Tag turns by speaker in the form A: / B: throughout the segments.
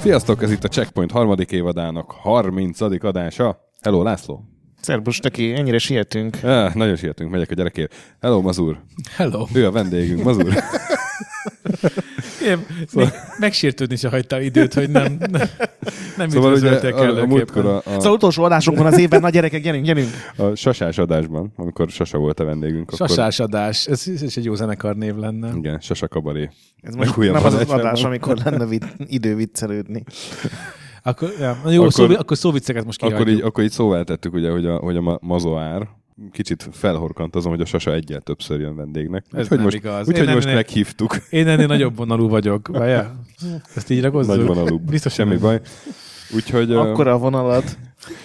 A: Sziasztok, ez itt a Checkpoint harmadik évadának 30. adása. Hello, László.
B: Szerbus, neki, ennyire sietünk.
A: Ah, nagyon sietünk, megyek a gyerekért. Hello, Mazur.
C: Hello.
A: Ő a vendégünk, Mazur.
C: Én szóval... megsértődni se hagyta időt, hogy nem, nem, nem
A: Szóval
C: szóval
A: ugye
C: üdvözöltek
A: a- a múltkor
C: előképpen.
A: a-
C: A...
A: a-
B: Szóval utolsó adásunkban az évben, nagy gyerekek, gyerünk, gyerünk.
A: A sasás adásban, amikor Sasa volt a vendégünk.
C: Sasás adás, ez, ez is egy jó zenekar név lenne.
A: Akkor... Igen, Sasa kabaré.
B: Ez most
A: Legújabb
B: nem az az
A: adásában.
B: adás, amikor lenne vid- idő viccelődni.
C: Akkor, ja, na jó,
A: Akkor-
C: akkor, szó, akkor szóvicceket most kihagyjuk.
A: Akkor így, akkor így szóvá tettük, ugye, hogy a, hogy a ma- mazoár kicsit felhorkant azon, hogy a Sasa egyel többször jön vendégnek.
C: Ez
A: Úgyhogy
C: nem
A: most,
C: igaz.
A: Úgyhogy
C: Én nem-
A: most
C: nem-
A: meghívtuk.
C: Én ennél nagyobb vonalú vagyok, várja? Ezt így ragozzuk?
A: Nagy vonalúbb.
C: Biztos
A: Semmi
C: nem.
A: baj. Úgyhogy ö,
B: Akkor a vonalat.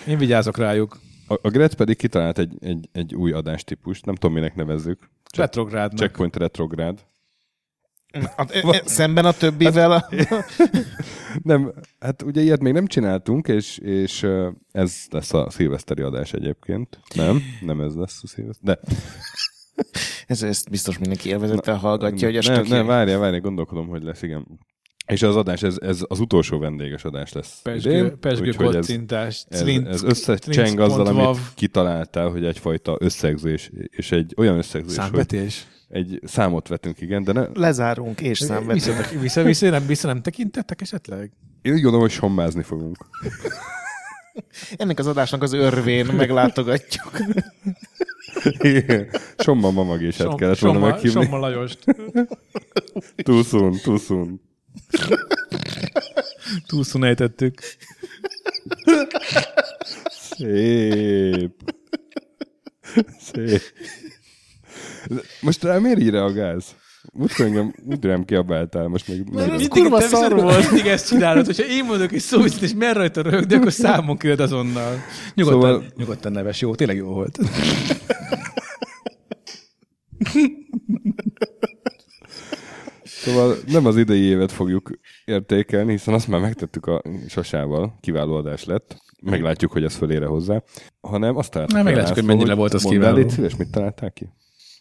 C: Én vigyázok rájuk.
A: a, a Gret pedig kitalált egy, egy, egy új adástípust, nem tudom, minek nevezzük. Check-
C: Retrográdnak.
A: Checkpoint retrográd.
B: A, e, e, szemben a többivel a...
A: Nem, hát ugye ilyet még nem csináltunk, és, és ö, ez lesz a szilveszteri adás egyébként. Nem, nem ez lesz a szilveszteri. De,
B: Ez, ezt biztos mindenki élvezettel hallgatja, hogy a
A: nem,
B: stöki-
A: nem, várjál, várjál, gondolkodom, hogy lesz, igen. És az adás, ez, ez az utolsó vendéges adás lesz.
C: Pesgő,
A: idén,
C: pesgő
A: úgyhogy ez,
C: kocintás,
A: ez,
C: cinc,
A: ez összecseng azzal, amit kitaláltál, hogy egyfajta összegzés, és egy olyan összegzés, hogy
C: Számvetés.
A: egy számot vetünk, igen, de ne,
B: Lezárunk és számvetünk.
C: Vissza, vissza, vissza, nem, vissza nem tekintettek esetleg?
A: én úgy gondolom, hogy sommázni fogunk.
B: E- Ennek az adásnak az örvén meglátogatjuk.
A: Igen. Somma mamagésát kellett volna
C: Somma-
A: meghívni.
C: Somma Lajost.
A: Too soon, too soon.
C: Túlszón ejtettük.
A: Szép. Szép. Most rá miért így reagálsz? Múltkor engem úgy rám kiabáltál, most meg... meg
B: Mindig kurva
C: te viszont
B: szar volt.
C: Mindig ezt csinálod, hogyha én mondok egy szóvicit, és mer rajta röhög, de akkor számon küld azonnal. Nyugodtan,
A: Szóval-
C: szóval... nyugodtan neves, jó, tényleg jó volt.
A: Szóval nem az idei évet fogjuk értékelni, hiszen azt már megtettük a sasával, kiváló adás lett. Meglátjuk, hogy ez fölére hozzá. Hanem azt találtuk.
C: Nem,
A: el,
C: meglátjuk,
A: László,
C: hogy mennyire volt az
A: mondd el,
C: kiváló.
A: Légy szíves, mit találtál ki?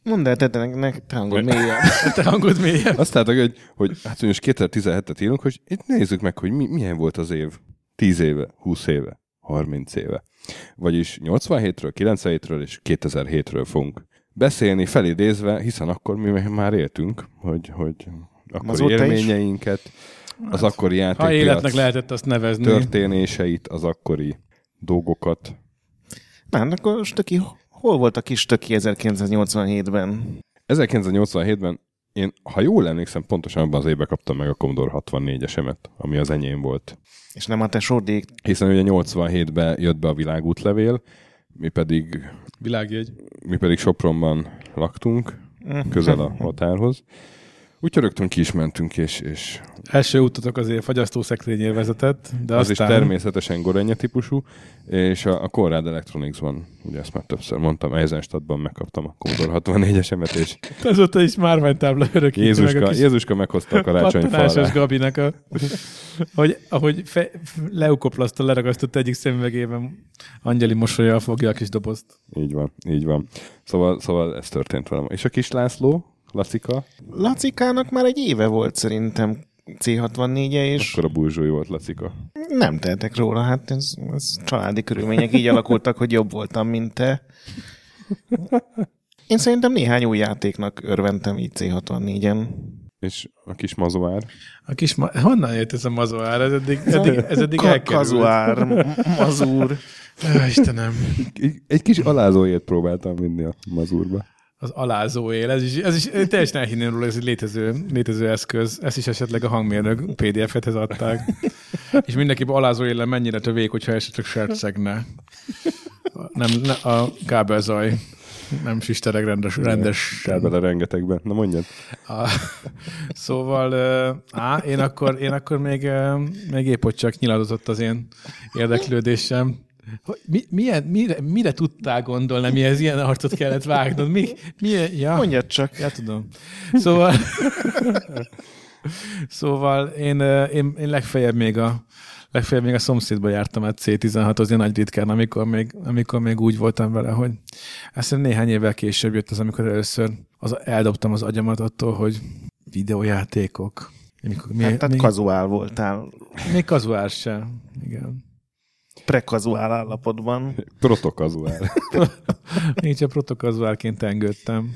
B: Mondd el, tedd ennek- nek te hangod mélyen.
C: Hát, Te hangod mélyebb.
A: Azt láttak, hogy, hogy hát most 2017-et írunk, hogy itt nézzük meg, hogy mi, milyen volt az év. 10 éve, 20 éve, 30 éve. Vagyis 87-ről, 97-ről és 2007-ről fogunk beszélni, felidézve, hiszen akkor mi már éltünk, hogy, hogy akkor
B: Azóta is.
A: élményeinket, az akkori
C: Ha életnek
A: játékpiac
C: lehetett azt nevezni.
A: történéseit, az akkori dolgokat.
B: Nem, hát akkor stöki, hol volt a kis stöki 1987-ben?
A: 1987-ben én, ha jól emlékszem, pontosan abban az évben kaptam meg a Commodore 64-esemet, ami az enyém volt.
B: És nem a te sordék.
A: hiszen ugye 87-ben jött be a világútlevél, mi pedig,
C: Világjegy.
A: mi pedig Sopronban laktunk,
C: Mhm.
A: közel a határhoz. Úgyhogy rögtön ki is mentünk, és, és
C: Első utatok azért fagyasztó szekrényér vezetett, de
A: az is
C: aztán...
A: természetesen Gorenje típusú, és a, a Conrad Electronicsban, ugye ezt már többször mondtam, Eisenstadtban megkaptam a Commodore 64-esemet, és
C: Azóta is márványtábla örökíti meg a
A: Jézuska,
C: kis
A: Jézuska meghozta a
C: pattanásos
A: karácsonyfalra.
C: Gabinak a... Hogy, ahogy fe, leukoplasztól leragasztott egyik szemüvegében, Angyeli mosolyjal fogja a kis dobozt.
A: Így van, így van. Szóval, szóval ez történt velem. És a kis László, Lacika,
B: Lacikának már egy éve volt szerintem C64-e, és
A: akkor a búzsói volt Lacika.
B: nem tehetek róla, hát ez, ez családi körülmények így alakultak, hogy jobb voltam, mint te. Én szerintem néhány új játéknak örventem így C64-en.
A: És a kis mazoár.
C: A kis ma- Honnan jött ez a mazoár? Ez eddig, eddig, ez eddig
B: Ka-
C: elkerült.
B: kazuár, m- mazúr.
C: Á, Istenem.
A: Egy- Egy kis alázóért próbáltam vinni a mazurba.
C: Az alázó él. Ez is, ez is én teljesen elhinném róla, ez egy létező, létező eszköz. Ezt is esetleg a hangmérnök PDF-ethez adták. És mindenképp alázó éle mennyire tövék, hogyha esetleg sercegne. Nem, ne, a kábelzaj. nem sistereg rendes, rendes.
A: Kell bele rengetegben. Na mondjad.
C: A, szóval ö, á, én akkor, én akkor még, ö, még épp ott csak nyiladozott az én érdeklődésem. Hogy Mi, milyen, mire, mire tudtál gondolni, mihez ilyen arcot kellett vágnod? Mi, milyen, ja.
B: Mondjad csak.
C: Ja, tudom. Szóval, szóval én, ö, én, én legfeljebb még a legfeljebb még a szomszédba jártam át C16-ozni nagy ritkán, amikor még, amikor még úgy voltam vele, hogy azt hiszem néhány évvel később jött az, amikor először az, eldobtam az agyamat attól, hogy videójátékok. Mikor, mi,
B: Hát, tehát
C: még,
B: kazuál voltál,
C: még kazuál sem. Igen.
B: prekazuál állapotban.
A: Protokazuál.
C: Nincs a protokazuálként engődtem.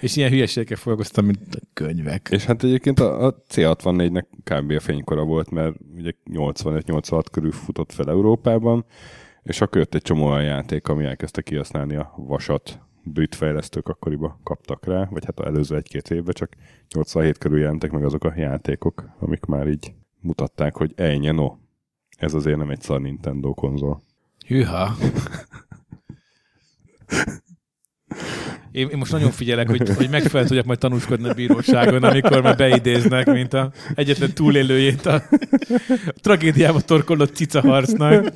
C: És ilyen hülyeségekkel foglalkoztam, mint a könyvek.
A: És hát egyébként a, a C64-nek kb. a fénykora volt, mert ugye 85-86 körül futott fel Európában, és akkor jött egy csomó olyan játék, ami elkezdte kihasználni a vasat. Brit fejlesztők akkoriban kaptak rá, vagy hát a előző egy-két évben csak 87 körül jelentek meg azok a játékok, amik már így mutatták, hogy ennyi no, ez azért nem egy szar Nintendo konzol.
C: Hűha. Én, én most nagyon figyelek, hogy, hogy megfelelően tudjak majd tanúskodni a bíróságon, amikor már beidéznek, mint a egyetlen túlélőjét a, a tragédiába torkollott cica harcnak.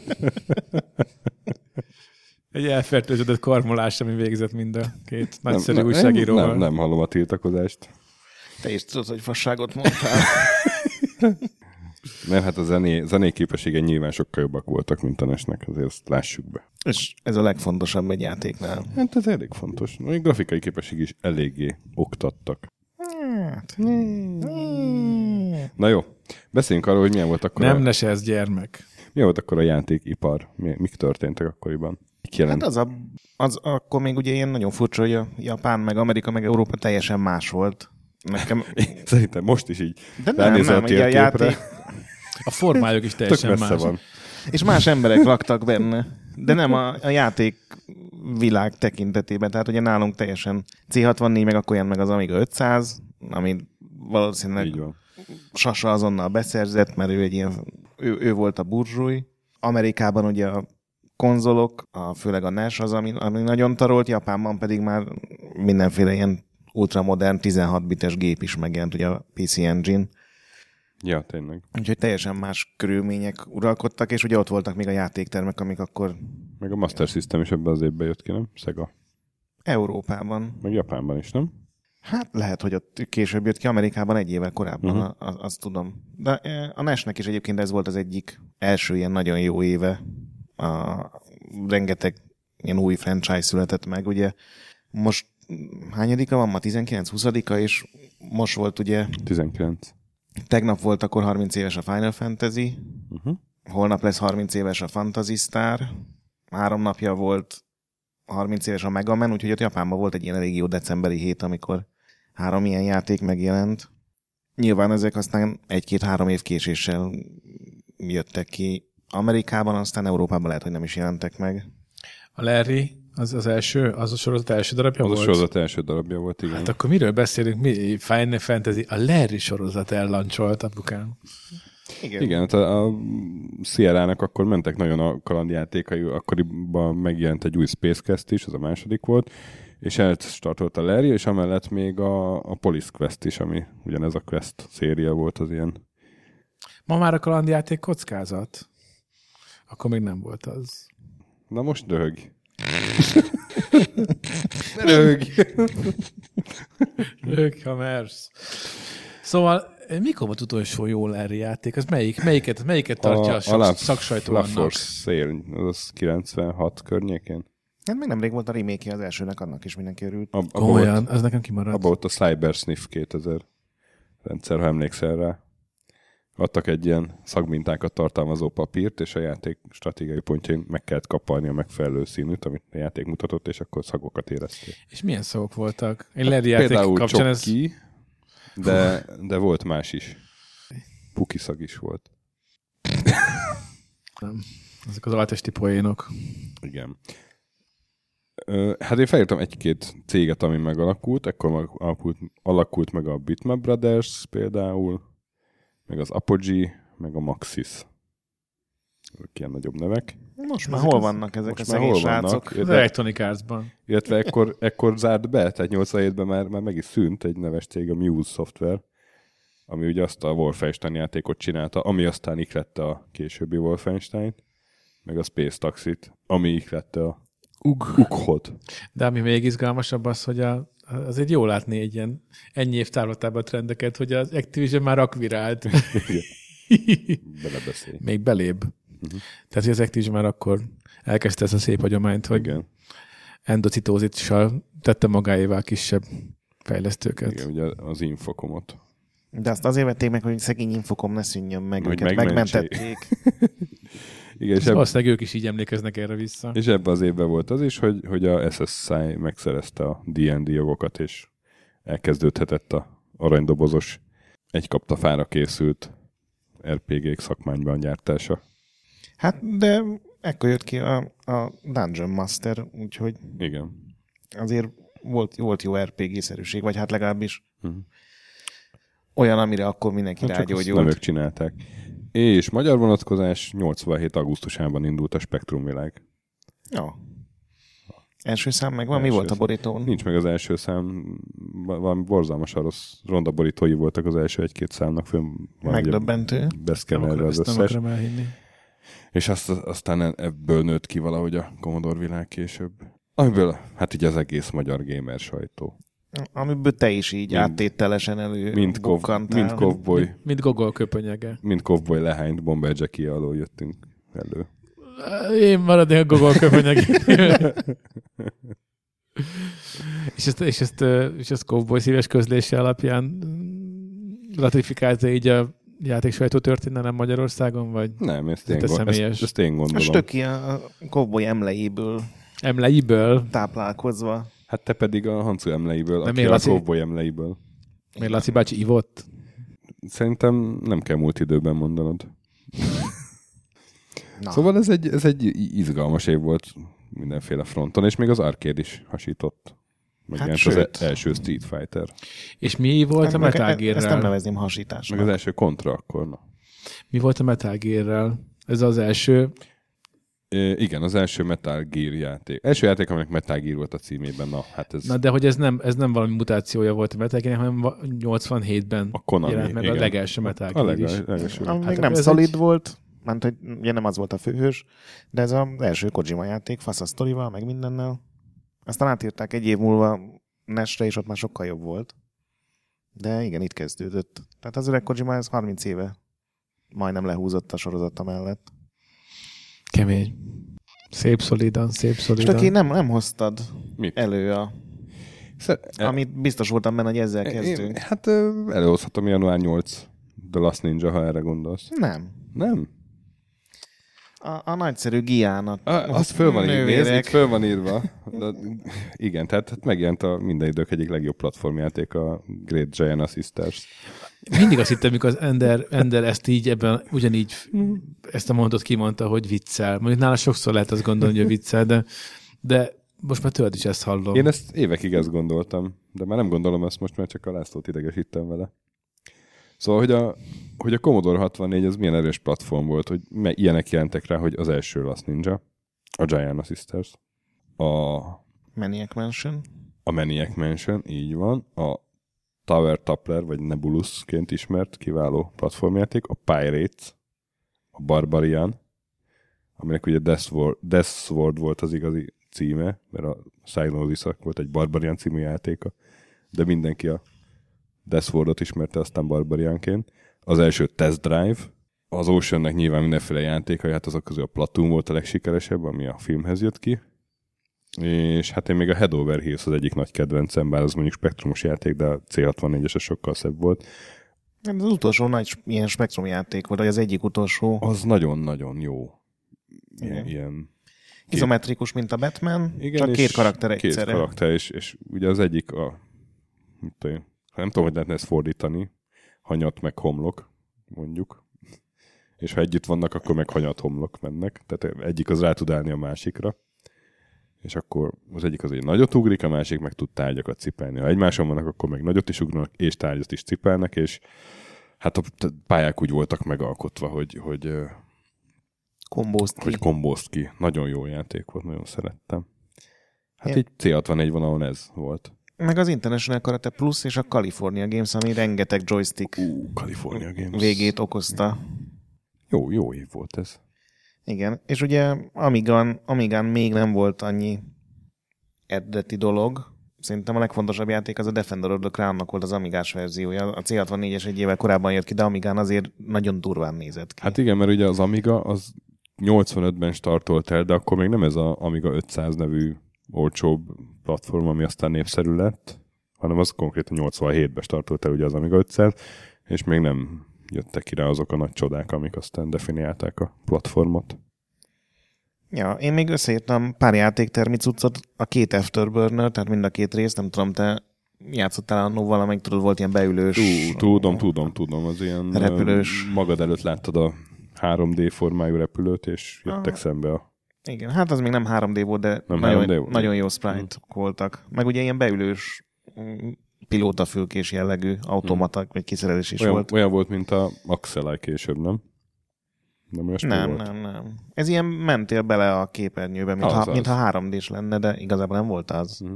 C: Egy elfertőződött karmolás, ami végzett mind a két nagyszerű
A: nem, nem,
C: újságíróval.
A: nem, nem hallom a tiltakozást.
B: Te is tudod, hogy fasságot mondtál.
A: Mert hát a zené, zené képessége nyilván sokkal jobbak voltak, mint a nesnek, azért ezt lássuk be.
B: És ez a legfontosabb egy játéknál.
A: Hát ez elég fontos. Még grafikai képesség is eléggé oktattak.
C: Hát,
A: Hmm. Na jó, beszéljünk arról, hogy milyen volt akkor,
C: hmm. nem
A: a,
C: lesz ez gyermek.
A: milyen volt akkor a játékipar, mi, mik történtek akkoriban. Mik jelent?
B: Hát az, a, az akkor még ugye ilyen nagyon furcsa, hogy a Japán, meg Amerika, meg Európa teljesen más volt. Nekem,
A: Szerintem most is így
B: de nem,
A: ránézel
B: nem,
A: a
B: ugye a
A: térképre,
B: játék,
C: A formájuk is
A: tök
C: teljesen
A: messze
C: más.
A: van.
B: és más emberek laktak benne. De nem a, a játék világ tekintetében. Tehát ugye nálunk teljesen C64, meg akkor ilyen meg az Amiga 500, ami valószínűleg
A: Így van.
B: Sasa azonnal beszerzett, mert ő egy ilyen, ő, ő volt a burzsúj. Amerikában ugye a konzolok, a, főleg a NES az, ami, ami nagyon tarolt, Japánban pedig már mindenféle ilyen ultramodern 16 bites gép is megjelent, ugye a PC Engine.
A: Ja, tényleg.
B: Úgyhogy teljesen más körülmények uralkodtak, és ugye ott voltak még a játéktermek, amik akkor
A: Meg a Master System is ebben az évben jött ki, nem? Sega.
B: Európában.
A: Meg Japánban is, nem?
B: Hát lehet, hogy ott később jött ki, Amerikában egy évvel korábban, uh-huh. azt az tudom. De eh, a NES-nek is egyébként ez volt az egyik első ilyen nagyon jó éve. A, rengeteg ilyen új franchise született meg, ugye most hányadika van ma? 19-20-a, és most volt ugye,
A: 19.
B: tegnap volt akkor 30 éves a Final Fantasy,
A: Uh-huh.
B: holnap lesz 30 éves a Fantasy Star, három napja volt 30 éves a Mega Man, úgyhogy ott Japánban volt egy ilyen elég jó decemberi hét, amikor három ilyen játék megjelent. Nyilván ezek aztán egy-két-három év késéssel jöttek ki Amerikában, aztán Európában lehet, hogy nem is jelentek meg.
C: A Larry, az, az első, az a sorozat első darabja
A: Az a
C: volt?
A: sorozat első darabja volt, igen.
C: Hát akkor miről beszélünk? Mi Final Fantasy? A Larry sorozat ellancsolt apukám.
B: Igen.
A: Igen, hát a, a Sierra-nak akkor mentek nagyon a kalandjátékai, akkoriban megjelent egy új Spacecast is, az a második volt, és elstartolt a Larry, és amellett még a, a Police Quest is, ami ugyanez a Quest széria volt az ilyen.
C: Ma már a kalandjáték kockázat? Akkor még nem volt az.
A: Na most döhög. Ne Röhög.
C: Ők, ha mersz. Szóval eh, mikor volt utolsó jó Larry játék? Az melyik, melyiket, melyiket tartja a, a
A: Lab-
C: sok, szaksajtó
A: Lab
C: annak?
A: Force Szél, az 96 környékén.
B: Hát még nemrég volt a remake az elsőnek, annak is mindenki örült.
A: Ab, abba, volt,
C: Komolyan, az nekem kimaradt.
A: abba Hát, volt a Cyber Sniff 2000 rendszer, ha emlékszel rá. adtak egy ilyen szagmintákat tartalmazó papírt, és a játék stratégiai pontjain meg kellett kapálni a megfelelő színűt, amit a játék mutatott, és akkor szagokat érezték.
C: És milyen szavak voltak? Egy Larry játék kapcsán ez...
A: csoki, de, de volt más is. Puki szag is volt.
C: Nem. Ezek az alatesti poénok.
A: Igen. Ö, Hát én felírtam egy-két céget, ami megalakult, ekkor meg alakult, alakult meg a Bitmap Brothers például, meg az Apogee, meg a Maxis. azok ilyen nagyobb nevek.
B: Most már
C: Ezek
B: hol
C: az-
B: vannak ezek a
A: Most már
B: szegény
A: hol
B: srácok?
A: vannak?
C: Az
A: Illetve,
C: Electronic Arts-ban.
A: illetve ekkor, ekkor zárt be, tehát 87-ben már, már meg is szűnt egy neves cég, a Muse Software, ami ugye azt a Wolfenstein játékot csinálta, ami aztán iklette a későbbi wolfenstein meg a Space Taxit, ami iklette a Ug. Ughot.
C: De ami még izgalmasabb az, hogy a, azért jó látni egy ilyen ennyi év távlatában a trendeket, hogy az Activision már akvirált.
A: Igen. Belebeszélj.
C: még belébb. Uh-huh. Tehát, hogy az Activision már akkor elkezdte ezt a szép hagyományt, hogy
A: Igen.
C: endocitozissal tette magáévá kisebb fejlesztőket.
A: Igen, ugye az infokomot.
B: De azt azért vették meg, hogy szegény infokom ne szűnjön meg,
A: Hogy
B: őket
A: megmentsék.
B: megmentették.
A: Igen, és,
C: És
A: eb-
C: valószínűleg ők is így emlékeznek erre vissza.
A: és ebben az évben volt az is, hogy, hogy a SSI megszerezte a D&D jogokat, és elkezdődhetett a aranydobozos egy kapta fára készült RPG-k szakmányban gyártása.
B: Hát, de ekkor jött ki a, a Dungeon Master, úgyhogy
A: Igen.
B: azért volt, volt jó RPG-szerűség, vagy hát legalábbis
A: Mhm.
B: olyan, amire akkor mindenki
A: Hát
B: hát
A: csak azt nem ők
B: rágyógyult.
A: csinálták. És magyar vonatkozás 87. augusztusában indult a Spektrumvilág.
B: Ja. Első szám megvan, mi
A: Első
B: volt a
A: szám.
B: borítón?
A: Nincs meg az első szám, va- valami borzalmasan rossz rondaborítói voltak az első egy-két számnak, fönn van ugye
B: Megdöbbentő.
C: Nem
A: beszkenelve
C: akarom,
A: az
C: ezt nem
A: összes.
C: akarom elhinni.
A: És azt, aztán ebből nőtt ki valahogy a Commodore világ később. Amiből, hát így az egész magyar gamer sajtó.
B: Amiből te is így
A: Mind-
B: áttételesen elő
A: Mind, kov,
B: bukkantál.
A: mind kovboly,
C: Mint Gogol köpönyege.
A: mind kovboly lehányt Bomber Jackie alól jöttünk elő.
C: Én maradnék a Gogol köpönyegénél. és ezt, és ezt, ö, és ezt Cowboy szíves közlése alapján mm, ratifikálta így a játéksajtó történelem Magyarországon, vagy
A: Nem, ezt
C: Ez
A: én,
C: te
A: gond,
C: személyes.
A: ezt, ezt én
B: A
A: gondolom.
B: stöki a kovboly emleiből
C: emleiből?
B: táplálkozva.
A: Hát te pedig a Hancu emleiből,
C: Nem
A: aki
C: én,
A: a
C: Laci.
A: kovboly emleiből.
C: Miért Laci bácsi ivott?
A: Szerintem nem kell múlt időben mondanod.
B: Na, szóval...
A: Szóval ez egy, ez egy i- izgalmas év volt mindenféle fronton, és még az arcade is hasított. Megjelent hát,
B: sőt.
A: az e- első Street Fighter.
C: És mi
A: Hát
C: volt a Metal
B: ezt nem
C: Gear-rel?
B: nevezném
A: Meg
B: hasításnak.
A: az első kontra akkor. Na.
C: Mi volt a Metal Gear-rel? Ez az első.
A: E, igen, az első Metal Gear játék. Első játék, aminek Metal Gear volt a címében. Na, hát ez
C: Na
A: Na,
C: de hogy ez nem, ez nem valami mutációja volt a Metal Gear-nek, hanem va- 87-ben
A: a Konami.
C: jelent meg
A: igen.
C: a legelső Metal
A: A
C: Gear is.
A: leges- legelső.
B: Ami
C: Hát
B: még
C: akkor
B: nem
C: ez
B: szolid
C: egy-
B: volt, mert hogy ugye nem az volt a főhős, de ez az első Kojima játék, fasz a sztorival, meg mindennel. Aztán átírták egy év múlva Nesre, és ott már sokkal jobb volt. De igen, itt kezdődött. Tehát az öreg Kojima ez 30 éve majdnem lehúzott a sorozata mellett.
C: Kemény. Szép szolidan, szép
B: És aki
C: szolidan.
B: nem, nem hoztad
A: Mit?
B: elő, a,
A: Szer- e-
B: amit biztos voltam benne, hogy ezzel
A: e-
B: kezdünk.
A: én- Hát ö, előhozhatom január 8 The Last Ninja, ha erre gondolsz.
B: Nem.
A: Nem?
B: A, a nagyszerű Giának.
A: A, az föl van írva,
B: Nővérek.
A: nézd, itt föl van írva. De, igen, tehát hát megjelent a minden idők egyik legjobb platformjáték, a Great Giant Assisters.
C: Mindig azt hittem, mikor az Ender, Ender ezt így ebben, ugyanígy ezt a mondatot kimondta, hogy viccel. Mondjuk nála sokszor lehet azt gondolni, hogy ő viccel, de, de most már tőled is ezt hallom.
A: Én ezt évekig ezt gondoltam, de már nem gondolom ezt most, mert csak a Lászlót idegesítem vele. Szóval, hogy a, hogy a Commodore 64 az milyen erős platform volt, hogy me, ilyenek jelentek rá, hogy az első Last Ninja, a Giant Assisters, a,
B: Maniac Mansion.
A: a Maniac Mansion, így van, a Tower Tapler, vagy Nebulusként ismert kiváló platformjáték, a Pirates, a Barbarian, aminek ugye Death Sword, Death Sword volt az igazi címe, mert a Psygnosis volt egy Barbarian című játéka, de mindenki a Death Swordot ismerte aztán Barbarianként. Az első Test Drive, az Oceannek nyilván mindenféle játékai, hát azok közül a Platoon volt a legsikeresebb, ami a filmhez jött ki. És hát én még a Head Over Heels az egyik nagy kedvencem, bár az mondjuk spektrumos játék, de a C64-es az sokkal szebb volt.
B: Ez az utolsó nagy sp- ilyen spektrumjáték volt, vagy az egyik utolsó
A: Az nagyon-nagyon jó.
B: Igen.
A: Ilyen, ilyen
B: izometrikus, mint a Batman,
A: Igen,
B: Igen, csak
A: és
B: két karakter
A: két
B: egyszerre. Karakter.
A: karakter, és, és ugye az egyik a... Mit tudom, én, nem tudom, hogy lehetne ezt fordítani. Hanyat meg homlok, mondjuk. És ha együtt vannak, akkor meg hanyat homlok mennek. Tehát egyik az rá tud állni a másikra. És akkor az egyik az egy nagyot ugrik, a másik meg tud tárgyakat cipelni. Ha egymáson vannak, akkor meg nagyot is ugranak, és tárgyat is cipelnek, és hát a t- pályák úgy voltak megalkotva, hogy, hogy ö,
B: kombózt ki.
A: hogy kombózt ki. Nagyon jó játék volt, nagyon szerettem. Hát
B: Én-
A: így C64 vonalon ez volt.
B: Meg az International Karate Plus és a California Games, ami rengeteg joystick
A: Ú, California Games.
B: végét okozta.
A: Jó, jó év volt ez.
B: Igen, és ugye Amigan, Amigán még nem volt annyi eredeti dolog. Szerintem a legfontosabb játék az a Defender of the Crown-nak volt az Amigás verziója. A C64-es egy évvel korábban jött ki, de Amigán azért nagyon durván nézett ki.
A: Hát igen, mert ugye az Amiga az 85-ben startolt el, de akkor még nem ez az Amiga 500 nevű olcsóbb platform, ami aztán népszerű lett, hanem az konkrétan 87-ben startolt el ugye az Amiga 500, és még nem jöttek ki rá azok a nagy csodák, amik aztán definiálták a platformot.
B: Ja, én még összeírtam pár játéktermi cuccot, a két Afterburner, tehát mind a két rész, nem tudom, te játszottál annó valamelyik, tudod, volt ilyen beülős.
A: Ú, tudom, tudom, tudom, az ilyen
B: Repülős.
A: ö, magad előtt láttad a 3D formájú repülőt, és jöttek
B: Aha.
A: szembe a
B: Igen, hát az még nem 3D volt, de
A: Nem
B: nagyon,
A: 3D volt.
B: nagyon jó sprite mm. voltak. Meg ugye ilyen beülős mm, pilótafülkés jellegű automata, mm. vagy kiszerelés is
A: olyan
B: volt.
A: volt. olyan volt, mint a Axelai később, nem? Nem olyasmi
B: Nem,
A: volt?
B: nem, nem. Ez ilyen mentél bele a képernyőbe, mintha,
A: Az az.
B: mintha 3D-s lenne, de igazából nem volt az.
A: Mhm.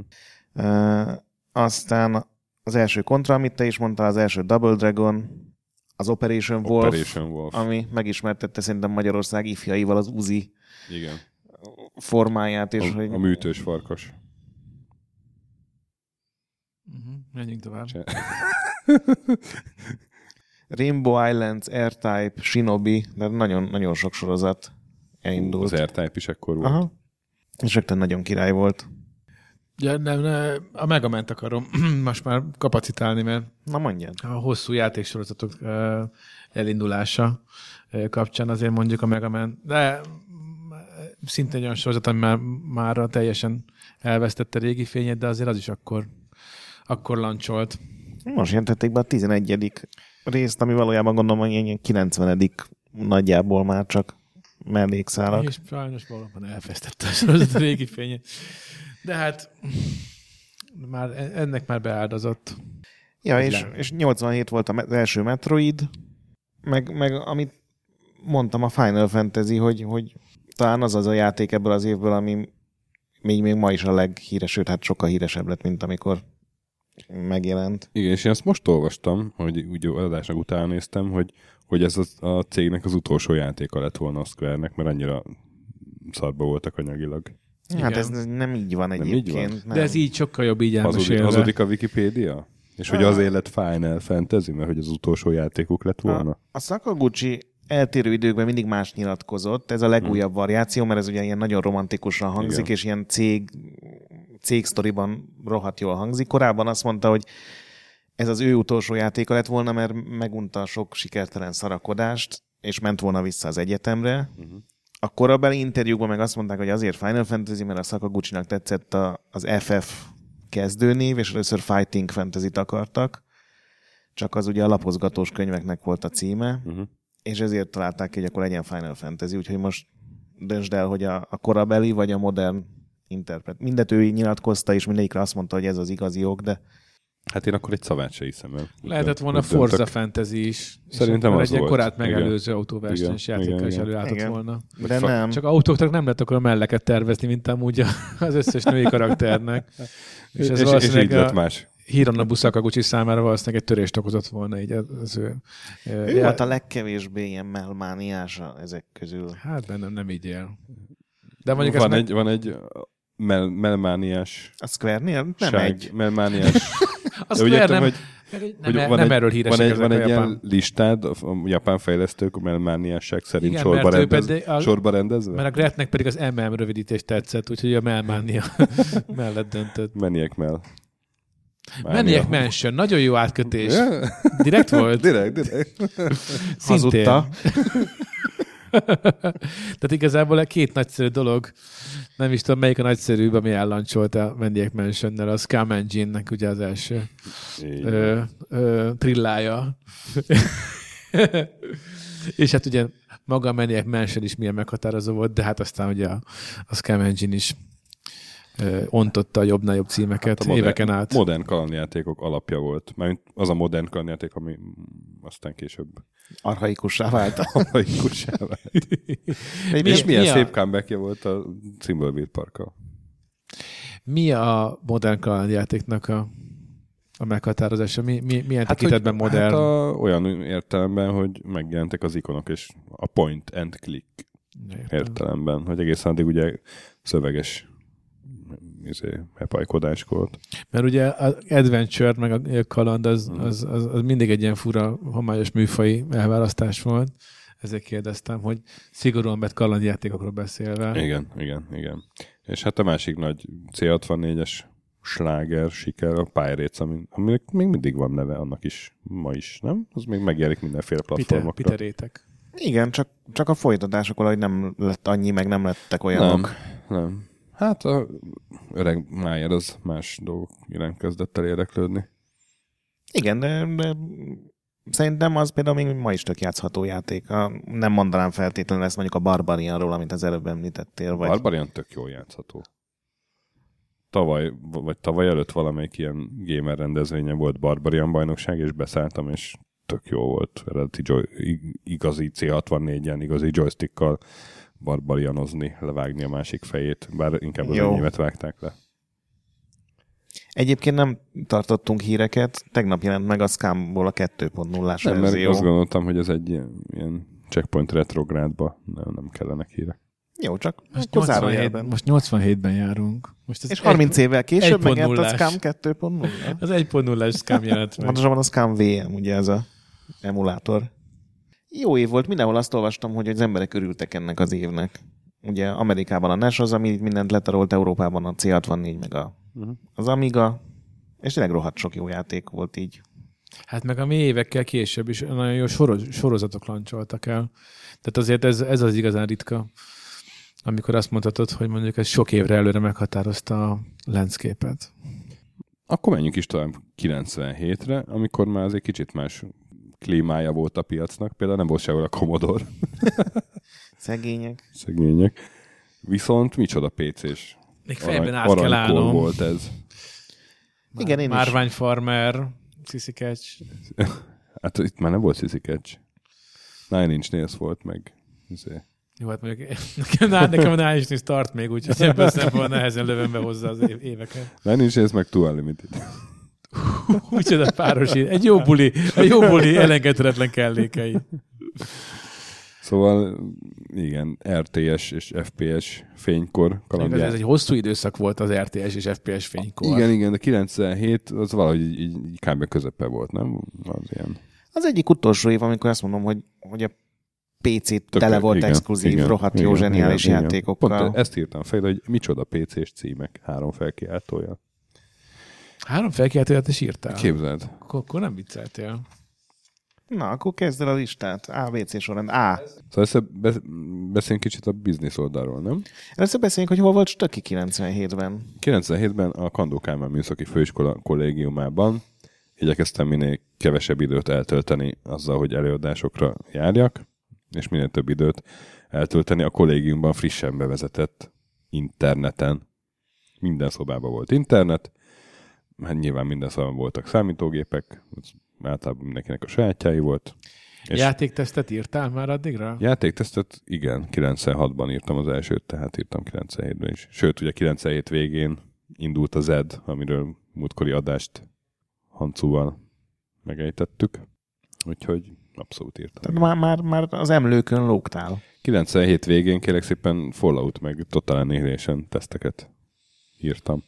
B: Ö, aztán az első kontra, amit te is mondtál, az első Double Dragon, az Operation Wolf,
A: Operation Wolf.
B: ami megismertette szerintem Magyarország ifjaival az Uzi
A: Igen.
B: formáját, és
A: a,
B: hogy...
A: a műtős farkas.
C: Uh-huh. Menjünk tovább.
A: Cse-
B: Rainbow Islands, R-Type, Shinobi, de nagyon-nagyon sok sorozat elindult.
A: Az R-Type is ekkor volt.
B: Aha. És rögtön nagyon király volt.
C: Ja, nem, nem, a Megament akarom most már kapacitálni, mert
B: Na mondjad.
C: a hosszú játéksorozatok ö, elindulása ö, kapcsán azért mondjuk a Mega Man, de mm, szinte egy olyan sorozat, ami már, már teljesen elvesztette régi fényét, de azért az is akkor, akkor lancsolt.
B: Most jelentették be a 11. részt, ami valójában gondolom, hogy ilyen 90. nagyjából már csak mellékszálak.
C: És sajnos valóban elvesztette a sorozat a régi fényét. De hát már ennek már beáldozott.
B: Ja,
C: Hogy
B: és,
C: le-
B: és 87 volt a me- az első Metroid, meg, meg amit mondtam a Final Fantasy, hogy, hogy talán az az a játék ebből az évből, ami még, még ma is a leghíresebb, hát sokkal híresebb lett, mint amikor megjelent.
A: Igen, és én ezt most olvastam, hogy úgy adásnak utána néztem, hogy, hogy ez az, a cégnek az utolsó játéka lett volna a Square-nek, mert annyira szarba voltak anyagilag.
B: Igen. Hát
C: Igen.
B: ez nem így van
A: így
B: egyébként.
A: van?
B: Nem.
C: De ez így sokkal jobb így
A: Hazudik,
C: elmesélve.
A: hazudik a Wikipédia? És hogy az élet Final Fantasy, mert hogy az utolsó játékuk lett volna?
B: A Sakaguchi eltérő időkben mindig más nyilatkozott, ez a legújabb variáció, mert ez ugye ilyen nagyon romantikusan hangzik,
A: Igen.
B: és ilyen cég, cégsztoriban rohadt jól hangzik. Korábban azt mondta, hogy ez az ő utolsó játéka lett volna, mert megunta a sok sikertelen szarakodást, és ment volna vissza az egyetemre. Uh-huh. A korabeli interjúkban meg azt mondták, hogy azért Final Fantasy, mert a Sakaguchi-nak tetszett a, az FF kezdőnév, és először Fighting Fantasy-t akartak csak az ugye a lapozgatós könyveknek volt a címe,
A: Mhm.
B: uh-huh. és ezért találták ki, hogy akkor legyen Final Fantasy, úgyhogy most döntsd el, hogy a, a korabeli vagy a modern interpret. Mindet ő így nyilatkozta, és mindegyikre azt mondta, hogy ez az igazi ok, de
A: Hát én akkor egy szavát se hiszem el. Úgy
C: Lehetett
A: dönt-
C: volna
A: úgy döntök.
C: Forza Fantasy is. és
A: Szerintem
C: akkor
A: az
C: egy ilyen
A: volt.
C: korát
A: Igen.
C: megelőző autóversenyes
A: Igen,
C: játékkal
A: igen,
C: is
A: igen.
C: előálltott
B: Igen. Hm.
C: volna.
B: de
A: fa-
B: nem.
C: Csak autóknak nem lett akkor melleket tervezni, mint amúgy a- az összes női karakternek. És ez
A: és, és így
C: valószínűleg
A: lett
C: a
A: más.
C: Hironobu Sakaguchi számára valószínűleg egy törést okozott volna így az- az ő.
B: Ő volt a legkevésbé ilyen melmániása ezek közül.
C: Hát bennem nem így él. De mondjuk
A: Van
C: ezt meg...
A: egy, van egy uh, mel- melmániás
B: A Square-nél nem
A: ság-
B: egy.
A: melmániás
C: Azt
A: De úgy
C: nem,
A: értem,
C: nem,
A: hogy-
C: nem,
A: Hogy
C: nem, nem
A: egy-
C: erről híresek
A: Van egy,
C: ezek
A: van
C: a
A: egy ilyen
C: japán-
A: listád, a, a japán fejlesztők a melmániásság szerint
C: Igen,
A: Igen, sorba,
C: mert ő
A: rendez,
C: pedig a-
A: sorba rendezve?
C: Mert a Gretnek pedig az MM rövidítés tetszett, úgyhogy a Melmania mellett döntött.
A: Meniek mel. Mánia.
C: Menniek Mansion, nagyon jó átkötés.
A: Ja,
C: Direkt volt?
A: direkt, direkt.
C: Szintén.
B: Hazudta.
C: Tehát igazából két nagyszerű dolog, nem is tudom melyik a nagyszerűbb, ami ellancsolt a Mendiek Mansion-nel, a Scam Engine-nek ugye az első
A: Így.
C: ö, ö, trillája. És hát ugye maga a Mendiek Mansion is milyen meghatározó volt, de hát aztán ugye a, a Scam Engine is ö, ontotta a jobbnál jobb címeket
A: Hát A
C: éveken át.
A: modern kalandjátékok alapja volt. Mert az a modern kalandjáték, ami aztán később
B: Arhaikussá vált.
A: laikusává. És milyen szép comeback volt a Cimbalbeat parkkal.
C: Hát, Mi a modern kalandjátéknak a, a meghatározása? Mi, mi, milyen hát, tekintetben
A: hogy-
C: modern?
A: Hát a, olyan értelemben, hogy megjelentek az ikonok, és a point and click
C: Értem.
A: értelemben, hogy egészen addig ugye szöveges izé, hepajkodás volt.
C: Mert ugye az adventure, meg a kaland, az,
A: Hmm.
C: az, az, az mindig egy ilyen fura, homályos műfai elválasztás volt. Ezért kérdeztem, hogy szigorúan vett kalandjátékokról beszélve.
A: Igen, igen, igen. És hát a másik nagy C64-es sláger, siker, a Pirates, ami, aminek még mindig van neve, annak is ma is, nem? Az még megjelenik mindenféle
C: Peter,
A: platformokra.
C: Peterétek.
B: Igen, csak, csak a folytatások valahogy nem lett annyi, meg nem lettek olyanok.
A: Nem, nem. Hát a öreg Májer az más dolgok iránt kezdett el érdeklődni.
B: Igen, de, de szerintem az például még ma is tök játszható játék. A, nem mondanám feltétlenül ezt mondjuk a Barbarianról, amit az előbb említettél. Vagy...
A: Barbarian tök jól játszható. Tavaly, vagy tavaly előtt valamelyik ilyen gamer rendezvényen volt Barbarian bajnokság, és beszálltam, és tök jó volt eredeti joy, ig- igazi C64-en, igazi joystickkal barbarianozni, levágni a másik fejét, bár inkább az
B: Jó.
A: enyémet vágták le.
B: Egyébként nem tartottunk híreket, tegnap jelent meg a Scumból a 2.0-ás
A: Nem, mert
B: verzió.
A: azt gondoltam, hogy ez egy ilyen, ilyen checkpoint retrográdba nem, nem kellenek hírek.
B: Jó, csak
C: Most,
B: akkor
C: 87,
B: zárójelben.
C: most 87-ben járunk. Most ez
B: És 30 évvel később megjelent a
C: 1.0-ás.
B: Scum 2.0.
C: Az 1.0-es Scam jelent meg.
B: Pontosabban a Scam VM, ugye ez a emulátor. Jó év volt, mindenhol azt olvastam, hogy az emberek örültek ennek az évnek. Ugye Amerikában a NES az, ami így mindent letarolt, Európában a C64, meg a,
A: Mhm.
B: az Amiga, és tényleg rohadt sok jó játék volt így.
C: Hát meg a mi évekkel később is nagyon jó soroz, sorozatok lancsoltak el. Tehát azért ez, ez az igazán ritka, amikor azt mondhatod, hogy mondjuk ez sok évre előre meghatározta a landscape-et.
A: Akkor menjünk is tovább 97-re, amikor már az egy kicsit más klímája volt a piacnak, például nem volt sehol a Commodore,
B: Szegények.
A: szegények. Viszont micsoda PC-s
C: Még
A: arany,
C: fejben át kell
A: aranykor
C: állnom.
A: volt ez.
C: Már-
B: Igen, én is.
C: Márvány Farmer, Sissy Catch.
A: Hát itt már nem volt Sissy Catch. Nine Inch Nails volt meg. izé.
C: Jó, hát mondjuk nekem, na- nekem a Nine Inch Nails tart még, úgyhogy ebből szempontból nehezen lövöm be hozzá az év, éveket.
A: Nine Inch Nails meg Two Unlimited.
C: Micsoda páros így. Egy jó buli, a jó buli elengedhetetlen kellékei.
A: Szóval igen, RTS és FPS fénykor
C: Igaz, ez
A: kalandjáték.
C: egy hosszú időszak volt az RTS és FPS fénykor.
A: Igen, igen, de 97 az valahogy így, így, így kb. közepe volt, nem? Az ilyen.
B: Az egyik utolsó év, amikor azt mondom, hogy, hogy a PC tele volt
A: igen,
B: exkluzív, rohadt jó, zseniális
A: igen.
B: játékokkal.
A: Pont ezt írtam fel, hogy micsoda PC-s címek három felkiáltója.
C: Három felkiáltóját is írtál?
A: Képzeld.
C: Akkor, akkor nem vicceltél.
B: Na, akkor kezd el a listát. ABC sorrend. A.
A: Szóval ezt be- beszéljünk kicsit a biznisz oldalról, nem?
B: Először beszéljünk, hogy hol volt Stöki 97-ben.
A: 97-ben a Kandó Kálmán Műszaki Főiskola kollégiumában igyekeztem minél kevesebb időt eltölteni azzal, hogy előadásokra járjak, és minél több időt eltölteni a kollégiumban frissen bevezetett interneten. Minden szobában volt internet, hát nyilván minden szobában voltak számítógépek, az általában mindenkinek a sajátjai volt.
C: És Játéktesztet írtál már addigra?
A: Játéktesztet igen, 96-ban írtam az elsőt, tehát írtam 97-ben is. Sőt, ugye 97 végén indult a ZED, amiről múltkori adást Hancuval megejtettük, úgyhogy abszolút írtam.
B: Tehát már, már, már az emlőkön lógtál.
A: 97 végén kérlek szépen Fallout meg Total Annihilation teszteket írtam.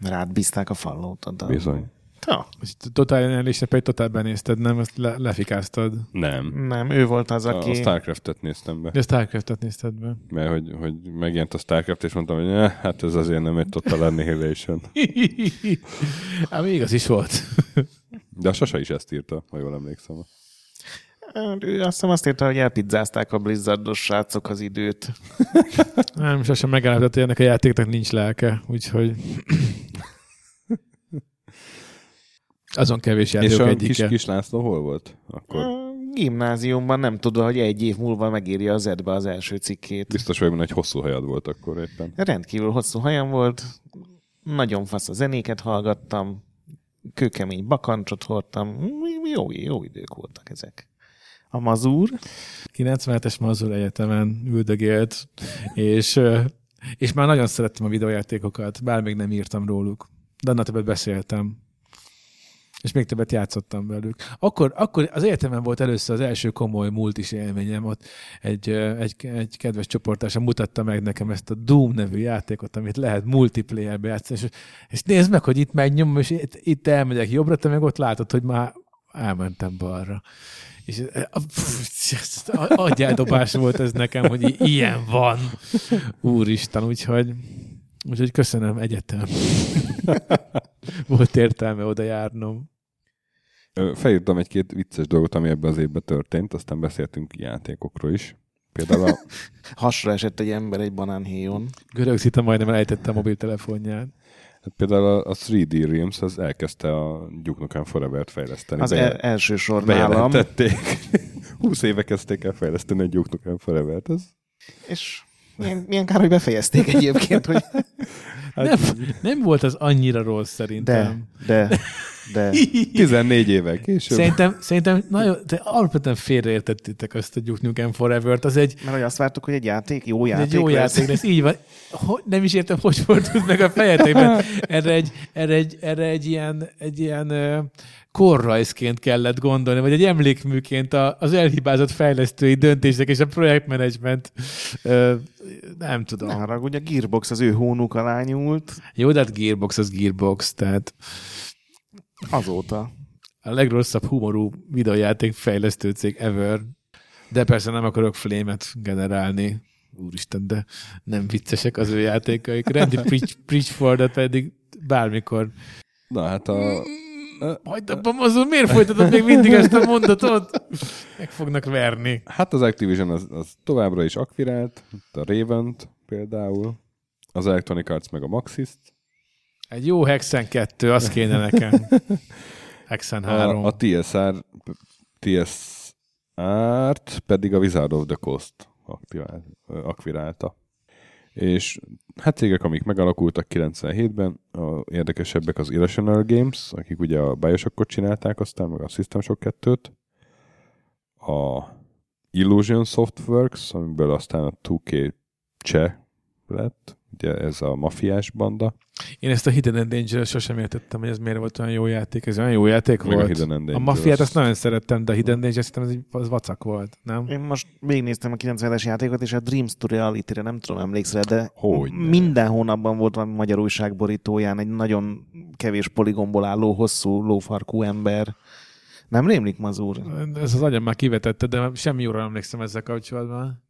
B: Rád bízták a fallótot. A...
A: Bizony.
B: Ta,
C: És Totál elésre pedig totál benézted, nem? Ezt le, lefikáztad.
A: Nem.
B: nem, ő volt az,
A: A,
B: aki...
A: a Starcraft-et néztem be,
C: De Starcraft-et nézted be.
A: mert hogy, hogy megjelent a Starcraft, és mondtam, hogy "Ne, hát ez azért nem egy Total Annihilation.
C: Ami igaz Hát is volt.
A: De a Sasa is ezt írta, ha jól emlékszem.
B: Ő azt hiszem azt írta, hogy elpizzázták a blizzardos srácok az időt.
C: nem, sosem megállapított, hogy ennek a játéknak nincs lelke, úgyhogy... Azon kevés
A: És
C: játékok
A: a kis,
C: egyike.
A: kis László hol volt? Akkor
B: A Gimnáziumban nem tudod, hogy egy év múlva megírja az edbe az első cikkét.
A: biztos vagy benne, hogy hosszú hajad volt akkor éppen.
B: Rendkívül hosszú hajam volt, nagyon fasz a zenéket hallgattam, kőkemény bakancsot hordtam, jó, jó idők voltak ezek. A mazur,
C: 97-es Mazur Egyetemen üldögélt, és, ö, és már nagyon szerettem a videójátékokat, bár még nem írtam róluk. De annál többet beszéltem. És még többet játszottam velük. Akkor, akkor az egyetemen volt először az első komoly múlt is élményem, ott egy, ö, egy, egy kedves csoportása mutatta meg nekem ezt a Doom nevű játékot, amit lehet multiplayerbe játszani, és, és nézd meg, hogy itt megnyomom, és itt, itt elmegyek jobbra, te meg ott látod, hogy már elmentem balra. És e, a- pff, ez a- agyáldobás volt ez nekem, hogy i- ilyen van. Úristen, úgyhogy, úgyhogy köszönöm egyetem. Volt értelme oda járnom.
A: Ö, Felírtam egy-két vicces dolgot, ami ebben az évben történt, aztán beszéltünk játékokról is. Például a,
B: hasra esett egy ember egy banánhéjon.
C: Görög szita majdnem elejtette a mobiltelefonját.
A: hát például a- a 3D Realms az elkezdte a Duke Nukem Forever-t fejleszteni.
B: Az
A: Bejel-
B: el, első sor nálam,
A: bejelentették. 20 éve kezdték el fejleszteni a Duke Nukem Forever-t. Ez
B: és milyen, milyen kár, hogy befejezték egyébként, hogy
C: Nem, Hát nem volt az annyira rossz
B: de,
C: szerintem.
B: de, de.
A: 14 éve később.
C: Szerintem, szerintem nagyon, de alapvetően félreértettétek azt a Duke Nukem Forever-t. Az egy,
B: Mert hogy azt vártuk, hogy egy játék jó
C: Ez
B: játék
C: egy jó
B: lesz.
C: játék lesz, így van. Hogy, nem is értem, hogy fordult meg a fejetekben. Erre egy, erre egy, erre egy ilyen, egy ilyen ö, korrajzként kellett gondolni, vagy egy emlékműként a- az elhibázott fejlesztői döntések és a projektmenedzsment. ö, Nem tudom.
B: Ne haragudj, a Gearbox az ő hónuk alá nyúlt
C: Jó, de hát Gearbox az Gearbox, tehát
B: azóta.
C: a legrosszabb humorú videójáték fejlesztő cég ever. De persze nem akarok flémet generálni. Úristen, de nem viccesek az ő játékaik. Randy Preach, Preachfordot pedig bármikor.
A: Na hát a...
C: Hagyd abban azon, miért folytatod még mindig ezt a mondatot? Meg fognak verni.
A: Hát az Activision az, az továbbra is akvirált, itt a raven például, az Electronic Arts meg a Maxis-t,
C: Egy jó Hexen 2, az kéne nekem. Hexen 3.
A: a, a TSR, TSR-t pedig a Wizard of the Coast aktivált, ö, akvirálta. És hát cégek, amik megalakultak 97-ben, a érdekesebbek az Irrational Games, akik ugye a Bioshockot csinálták, aztán meg a System Shock 2-t, a Illusion Softworks, amiből aztán a 2K cseh lett, ugye ez a mafiás banda,
C: Én ezt a Hidden and Dangerous sosem értettem, hogy ez miért volt olyan jó játék. Ez olyan jó játék
A: meg a
C: volt.
A: Hidden and
C: A
A: Dangerous.
C: mafiát azt nagyon szerettem, de a Hidden Danger szerintem ez egy, az vacak volt, nem?
B: Én most végignéztem a 90-es játékot, és a Dreams to Reality-re nem tudom, emlékszel, de
A: Hogyne.
B: minden hónapban volt valami magyar újság borítóján egy nagyon kevés poligomból álló, hosszú, lófarkú ember. Nem rémlik, Mazur?
C: Ez az agyam már kivetette, de semmi jóra nem emlékszem ezzel kapcsolatban.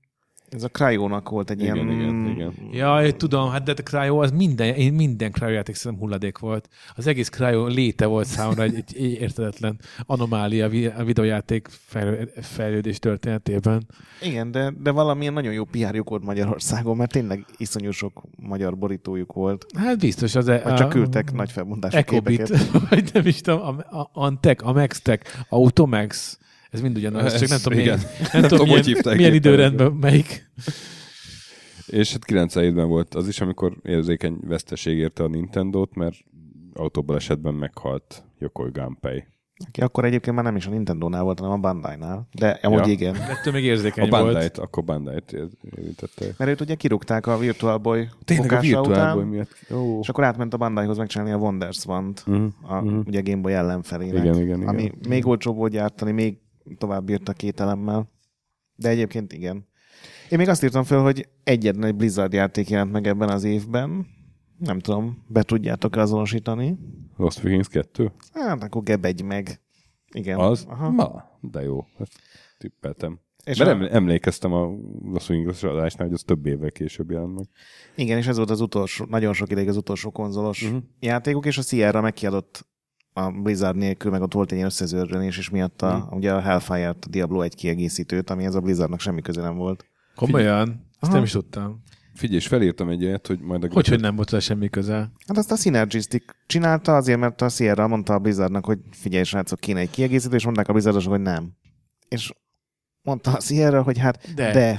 B: Ez a Cryónak volt egy
A: Igen,
B: ilyen...
A: igen, igen.
C: Jaj, tudom, hát de a Cryo, az minden, én minden Cryo játék szerintem hulladék volt. Az egész Cryo léte volt számomra egy, egy értetetlen anomália a vi- a videojáték fejlő- fejlődés történetében.
B: Igen, de, de valamilyen nagyon jó PR-juk volt Magyarországon, mert tényleg iszonyú sok magyar borítójuk volt.
C: Hát biztos az...
B: Vagy csak küldtek nagy felmondású
C: Ecobit,
B: képeket.
C: vagy nem is tudom, a, a Antek, a Maxtek, Automax, ez mind ugyanaz,
A: Ez-
C: csak nem tudom, milyen,
A: igen.
C: nem tudom,
A: tudom, hogy
C: milyen,
A: hívták
C: milyen
A: éppen
C: időrendben melyik.
A: És hát 97-ben volt az is, amikor érzékeny veszteség érte a Nintendo-t, mert autóbalesetben meghalt Yokoi Gunpei.
B: Aki akkor egyébként már nem is a Nintendo-nál volt, hanem a Bandai-nál. De amúgy
A: Ja.
B: igen.
C: Ettől még
A: A
C: érzékeny volt.
A: Bandai-t, akkor Bandai-t ér- érintette.
B: Mert őt ugye kirúgták a Virtual Boy
A: Tényleg a
B: fogása
A: Virtual
B: után,
A: Boy miatt. Ó.
B: és akkor átment a Bandaihoz megcsinálni a Wonders Wand,
A: Mhm.
B: a,
A: Mhm.
B: ugye Game Boy ellenfelének.
A: Igen, igen, igen.
B: ami még olcsóbb volt gyártani, még tovább bírt a két elemmel. De egyébként igen. Én még azt írtam föl, hogy egyetlen egy Blizzard játék jelent meg ebben az évben. Nem tudom, be tudjátok azonosítani?
A: Lost Vikings 2?
B: Hát akkor gebegy meg. Igen.
A: Az?
B: Aha.
A: Ma, de jó. Ezt tippeltem.
B: És
A: És Mert
B: a-
A: eml- emlékeztem a Lost Vikings adásnál, hogy az több évvel később jelent meg.
B: Igen, és ez volt az utolsó, nagyon sok ideig az utolsó konzolos uh-huh. játékok, és a Sierra megkiadott a Blizzard nélkül, meg ott volt egy ilyen összezörrenés, és miatt a, uh-huh. ugye a Hellfire-t, a Diablo egy kiegészítőt, ami ez a Blizzardnak semmi köze nem volt.
C: Komolyan? Ezt nem
B: Aha.
C: is tudtam.
A: Figyelj, és felírtam egy olyat, hogy majd a...
C: Hogy, hogy nem volt hozzá semmi köze.
B: Hát azt a Synergistic csinálta azért, mert a Sierra mondta a Blizzardnak, hogy figyelj srácok, kéne egy kiegészítő, és mondták a Blizzardosok, hogy nem. És mondta a Sierra, hogy hát
C: De.
B: de.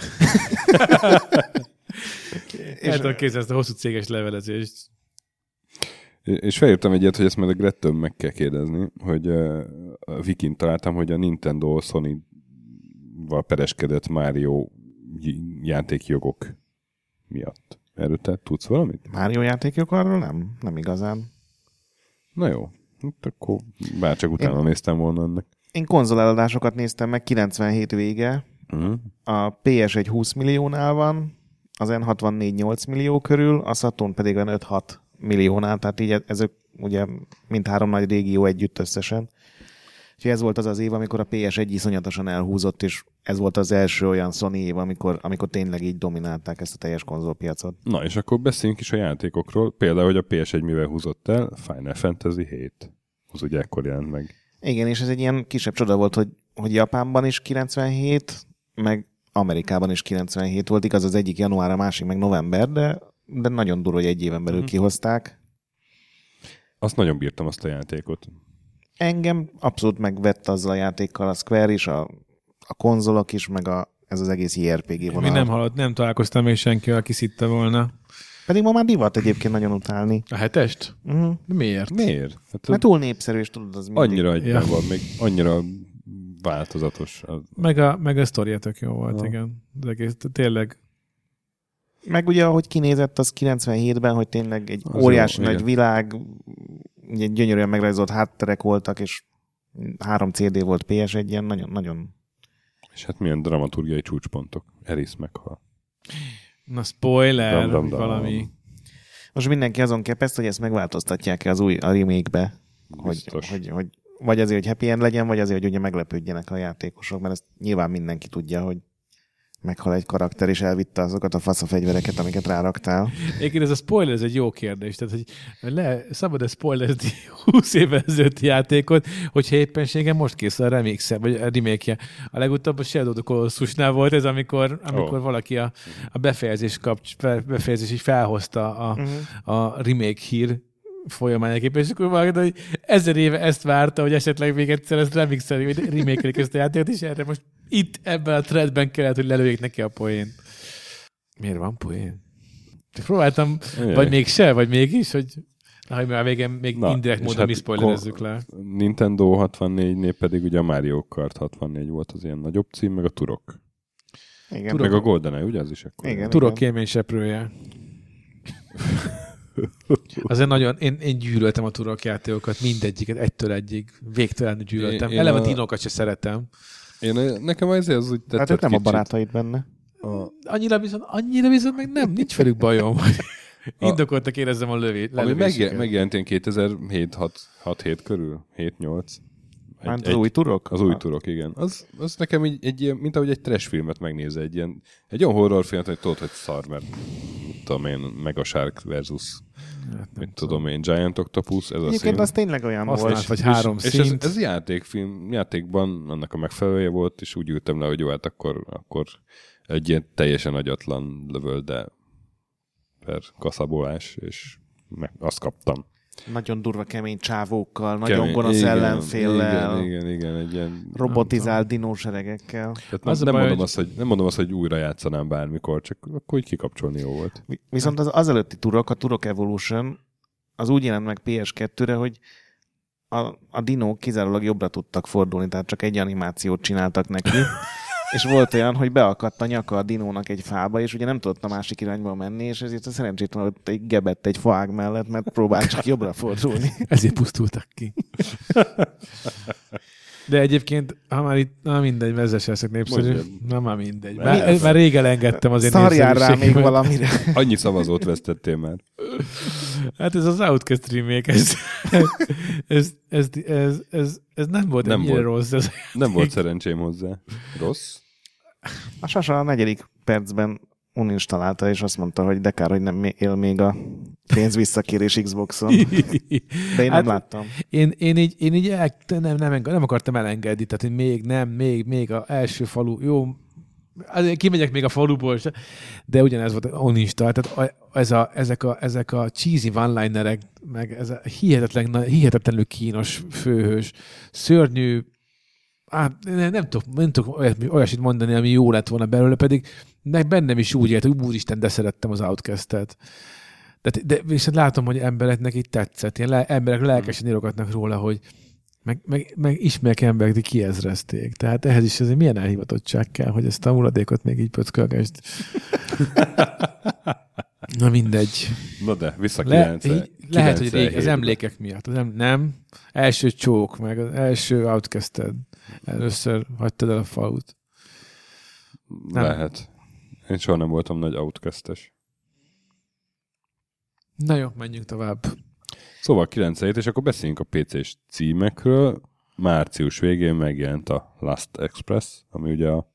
B: de.
C: El tudom képzelni ezt a hosszú céges levelezést.
A: És felírtam egyet, hogy ezt majd a Grettön meg kell kérdezni, hogy ö, a Vikin találtam, hogy a Nintendo Sony val pereskedett Mario j- játékjogok miatt. Erről te tudsz valamit?
B: Mario játékok arról nem? Nem igazán.
A: Na jó, hát akkor bárcsak utána Én... néztem volna ennek.
B: Én konzoleladásokat néztem meg, 97 vége,
A: Uh-huh.
B: a PS1 20 milliónál van, az N64 8 millió körül, a Saturn pedig olyan 5-6 milliónál, tehát így ezek ugye mindhárom nagy régió együtt összesen. Úgyhogy ez volt az az év, amikor a PS1 iszonyatosan elhúzott, és ez volt az első olyan Sony év, amikor, amikor tényleg így dominálták ezt a teljes konzolpiacot.
A: Na, és akkor beszéljünk is a játékokról. Például, hogy a PS1 mivel húzott el, Final Fantasy 7. Az ugye ekkor jelent meg.
B: Igen, és ez egy ilyen kisebb csoda volt, hogy, hogy Japánban is 97, meg Amerikában is 97 volt, igaz az egyik január, a másik meg november, de, de nagyon durva, hogy egy éven belül kihozták.
A: Azt nagyon bírtam azt a játékot.
B: Engem abszolút megvett azzal a játékkal a Square is, a, a konzolok is, meg a, ez az egész JRPG
C: Még
B: vonal.
C: nem hallott, nem találkoztam még senki, aki szitte volna.
B: Pedig ma már divat egyébként nagyon utálni.
C: A hetest?
B: Uh-huh.
C: De miért?
A: Miért? Hát
B: Mert túl népszerű, és tudod, az mindig.
A: annyira egyben
C: Ja.
A: van, még annyira változatos. Az-
C: Meg a, meg a sztoria tök jó volt,
A: Ja.
C: igen. Az egész, tényleg.
B: Meg ugye, ahogy kinézett az 97-ben, hogy tényleg egy
A: Az
B: az
A: jó,
B: óriási jó, nagy
A: igen.
B: világ, ugye gyönyörűen megrajzolt hátterek voltak, és három CD volt PS1, ilyen nagyon-nagyon
A: És hát milyen dramaturgiai csúcspontok. Eris meghal.
C: Na, spoiler,
A: Dam, dam, dam.
C: valami.
B: Most mindenki azon kepeszt, hogy ezt megváltoztatják-e az új a remake-be. Hogy,
A: Biztos.
B: hogy, hogy, vagy azért, hogy happy end legyen, vagy azért, hogy ugye meglepődjenek a játékosok, mert ezt nyilván mindenki tudja, hogy meghal egy karakter, és elvitte azokat a faszafegyvereket, amiket ráraktál.
C: Egyébként ez a spoiler, ez egy jó kérdés. Tehát, hogy le, szabad-e spoilerezni 20 évvel ezelőtt játékot, hogyha éppenségen most készül a remix vagy a remake A legutóbb a Shadow of the Colossusnál volt ez, amikor, amikor
A: Ó.
C: oh. valaki a, a befejezés kapcs, fe- befejezés így felhozta a, a remake hír folyamányaképpen, és akkor valaki, hogy ezer éve ezt várta, hogy esetleg még egyszer ezt remixelik, vagy remake ezt a játékot, és erre most itt ebben a threadben kellett, hogy lelőjék neki a poén. Miért van poén? Csak próbáltam,
A: Jaj.
C: vagy még se, vagy mégis, hogy na, hogy már végén még
A: Na,
C: Na, indirekt
A: és
C: módon
A: hát
C: mi spoilerezzük le.
A: Nintendo 64-nél pedig ugye a Mario Kart 64 volt az ilyen nagyobb cím, meg a Turok.
B: Igen.
A: Turok. Meg a GoldenEye, ugye az is ekkor?
B: Igen.
C: Turok élményseprője. Azért nagyon, én, én gyűlöltem a turok játékokat, mindegyiket, egytől egyig, végtelenül gyűlöltem.
A: Én- én
C: Eleve a
A: a-
C: dinokat se szeretem.
A: Én, nekem ezért az úgy tetszett
B: Hát ők nem a
A: kicsit.
B: barátaid benne.
A: A,
C: Annyira viszont, annyira viszont meg nem, nincs velük bajom. Indokoltak érezzem a lövét.
A: ami megjel, megjelent ilyen 2007-6-7 körül, 7-8. Egy-
B: Hát az
A: egy-
B: új turok?
A: Az új turok, igen. Az, az nekem így, egy ilyen, mint ahogy egy trash filmet megnézel, egy ilyen, egy olyan horrorfilmet, hogy tudod, hogy szar, mert mit tudom én, Mega Shark versus, mit tudom én, Giant Octopus, ez a szín.
B: Hát Egyébként az tényleg olyan
C: Azt
B: volt.
C: lát, vagy három
A: és ez,
C: szint.
A: ez játékfilm, játékban annak a megfelelője volt, és úgy ültem le, hogy jó, hát akkor, akkor egy ilyen teljesen agyatlan lövölde per kaszabolás, és meg azt kaptam.
B: Nagyon durva kemény csávókkal, nagyon kemény. gonosz
A: igen,
B: ellenféllel,
A: Igen, igen, igen, egy ilyen...
B: robotizált dinóseregekkel.
A: Tehát nem,
C: Az a
A: nem,
C: baj,
A: mondom
C: hogy-
A: azt, hogy, nem mondom azt, hogy újra játszanám bármikor, csak akkor így kikapcsolni jó volt.
B: Vi- Viszont az azelőtti turok, a Turok Evolution, az úgy jelent meg PS2-re, hogy a, a dinók kizárólag jobbra tudtak fordulni, tehát csak egy animációt csináltak neki. És volt olyan, hogy beakadt a nyaka a dinónak egy fába, és ugye nem tudott a másik irányba menni, és ezért a szerencsétlen ott egy gebett egy faág mellett, mert próbált csak jobbra fordulni.
C: Ezért pusztultak ki. De egyébként, ha már itt, na mindegy, mert ezzel sem leszek népszerű.
A: Mondjad.
C: Na már mindegy.
A: Mert-
C: Már, ez, már rég elengedtem az én
B: Szarjál rá még
C: népszerűségemet.
B: valamire.
A: Annyi szavazót vesztettél már.
C: Hát ez az Outcast remake, ez, ez, ez, ez, ez, ez, ez nem volt
A: Nem
C: nem ennyire
A: volt.
C: volt. rossz. Ez,
A: Nem volt szerencsém hozzá. Rossz?
B: A Sasa a negyedik percben uninstalálta, és azt mondta, hogy de kár, hogy nem él még a pénz visszakérés Xboxon. De én nem
C: Hát-
B: láttam.
C: én, én így, én így el, nem, nem, nem akartam elengedni, tehát én még nem, még, még a első falu, jó, azért kimegyek még a faluból, se, de ugyanez volt onista, tehát a, ez a, ezek, a, ezek a cheesy one-linerek, meg ez a hihetetlen, na- hihetetlenül kínos főhős, szörnyű, hát nem, nem tudok, nem tudok olyat, olyasmit mondani, ami jó lett volna belőle, pedig meg bennem is úgy élt, hogy úristen, de szerettem az Outcast-et. De, de viszont látom, hogy embereknek itt tetszett. Ilyen le, emberek lelkesen írogatnak róla, hogy meg, meg, meg ismerek emberek, akik kiezrezték. Tehát ehhez is azért milyen elhivatottság kell, hogy ezt a hulladékot még így pöckölgesd. Na mindegy.
A: Na de, vissza
C: Le,
A: 9
C: így, lehet, hogy rég, az emlékek miatt. Az em, nem. Első csók, meg az első outcasted. Először hagytad el a falut. nem.
A: Lehet. Én soha nem voltam nagy outcastes.
C: Na jó, menjünk tovább.
A: Szóval 9 és akkor beszéljünk a PC-s címekről. Március végén megjelent a Last Express, ami ugye a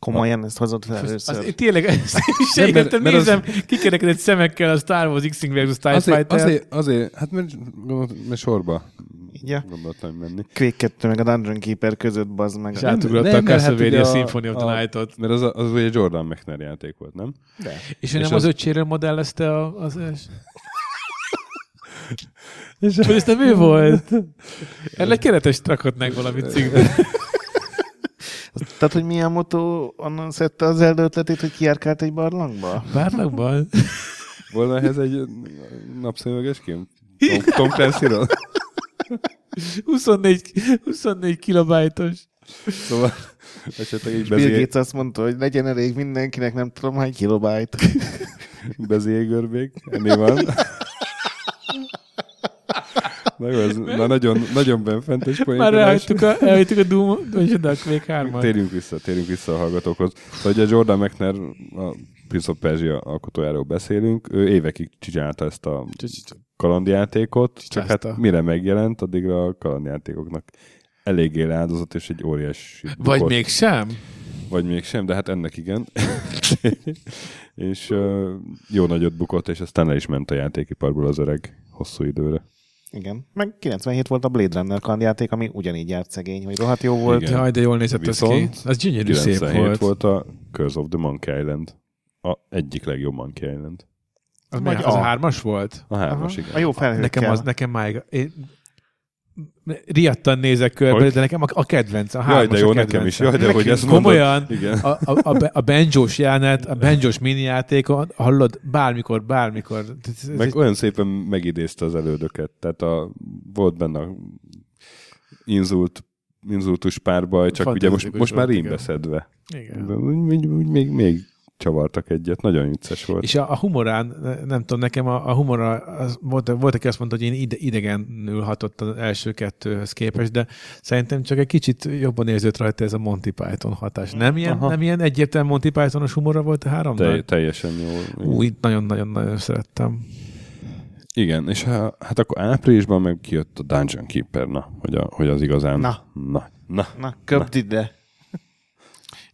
B: Komolyan ezt hozott fel
C: Az,
B: először.
C: az, tényleg, ezt is égettem,
A: mert az-
C: nézem, kikerekedett szemekkel a Star Wars X-Wing versus TIE
A: Azért,
C: Fighter.
A: azért, azért, hát mert, gondolt- mert sorba
B: Így a
A: gondoltam menni.
B: Quake 2 meg a Dungeon Keeper között bazd meg.
C: És
B: Nem,
C: átugrotta
A: nem,
C: a
A: mert hát ugye
C: Castlevania
A: a-
C: Symphony of
A: a-
C: the Night-ot.
A: Mert az, a- az ugye Jordan McNair játék volt, nem?
C: És ő
A: És
C: nem
A: az-
C: az öcséről modellezte a, az es... És hogy ez nem ő volt? Erre egy keretes trakotnánk valami cikkbe.
B: Tehát, hogy milyen motó onnan szedte az Zelda ötletét, hogy kiárkált egy barlangba?
C: Bárlakban?
A: Volna ehhez egy napszemüveges kim? Tom, Tom Clancy-ról?
C: 24, 24 kilobajtos.
A: Szóval esetleg egy
B: Bill
A: bezé,
B: Gates azt mondta, hogy legyen elég mindenkinek, nem tudom hány kilobájt.
A: bezégörbék. Ennél van. Na jó, ez na nagyon, nagyon benfentes
C: Már
A: poénkodás.
C: elhagytuk a, elhagytuk a Doom, vagy a Quake 3
A: Térjünk vissza, térjünk vissza a hallgatókhoz. Szóval ugye Jordan McNair, a Prince of Persia alkotójáról beszélünk, ő évekig csinálta ezt a kalandjátékot, csak hát
C: Császta.
A: mire megjelent, addigra a kalandjátékoknak eléggé leáldozott, és egy óriás...
C: Vagy
A: bukott.
C: mégsem?
A: Vagy mégsem, de hát ennek igen. és ö, jó nagyot bukott, és aztán le is ment a játékiparból az öreg hosszú időre.
B: Igen. Meg 97 volt a Blade Runner kalandjáték, ami ugyanígy járt szegény, hogy rohadt jó volt.
A: Igen.
C: Jaj, de jól nézett az ki.
A: Viszont
C: Az gyönyörű szép
A: 97
C: volt.
A: volt a Curse of the Monkey Island. A egyik legjobb Monkey Island.
C: Az,
B: Vagy
C: mi- az a
B: a-
C: hármas volt?
A: A hármas, igen.
B: A jó felhőkkel.
C: Nekem az, nekem máig... Én riadtan nézek körbe,
A: Hogy?
C: de nekem a, a kedvenc, a hármas
A: Jaj, de jó,
C: a
A: nekem is.
C: kedvencem.
A: Jaj, de hogy
B: Nekünk
A: ezt
C: Komolyan,
A: Mondod. Igen.
C: a, a, a, be- a benjós jelenet, a benjós mini játékon, hallod, bármikor, bármikor. Ez, ez
A: Meg
C: egy-
A: olyan szépen megidézte az elődöket. Tehát a, volt benne a inzult, inzultus párbaj, csak ugye most,
C: Fantasztikus
A: most már
C: volt,
A: rímbe
C: igen.
A: szedve. De
C: igen.
A: Úgy, úgy, úgy, még, még csavartak egyet. Nagyon vicces volt.
C: És a, a humorán, nem tudom, nekem a, a humora, az, volt, volt, aki azt mondta, hogy én ide, idegenül hatott az első kettőhöz képest, de szerintem csak egy kicsit jobban érződött rajta ez a Monty Python hatás. Nem ilyen,
A: Aha.
C: nem ilyen egyértelmű Monty Pythonos humora volt a háromnak?
A: Te, teljesen jó.
C: Új, nagyon-nagyon-nagyon szerettem.
A: Igen, és ha, hát akkor áprilisban meg kijött a Dungeon Keeper, na, hogy, a, hogy az igazán...
B: Na.
A: Na. na.
B: Na, köpd ide.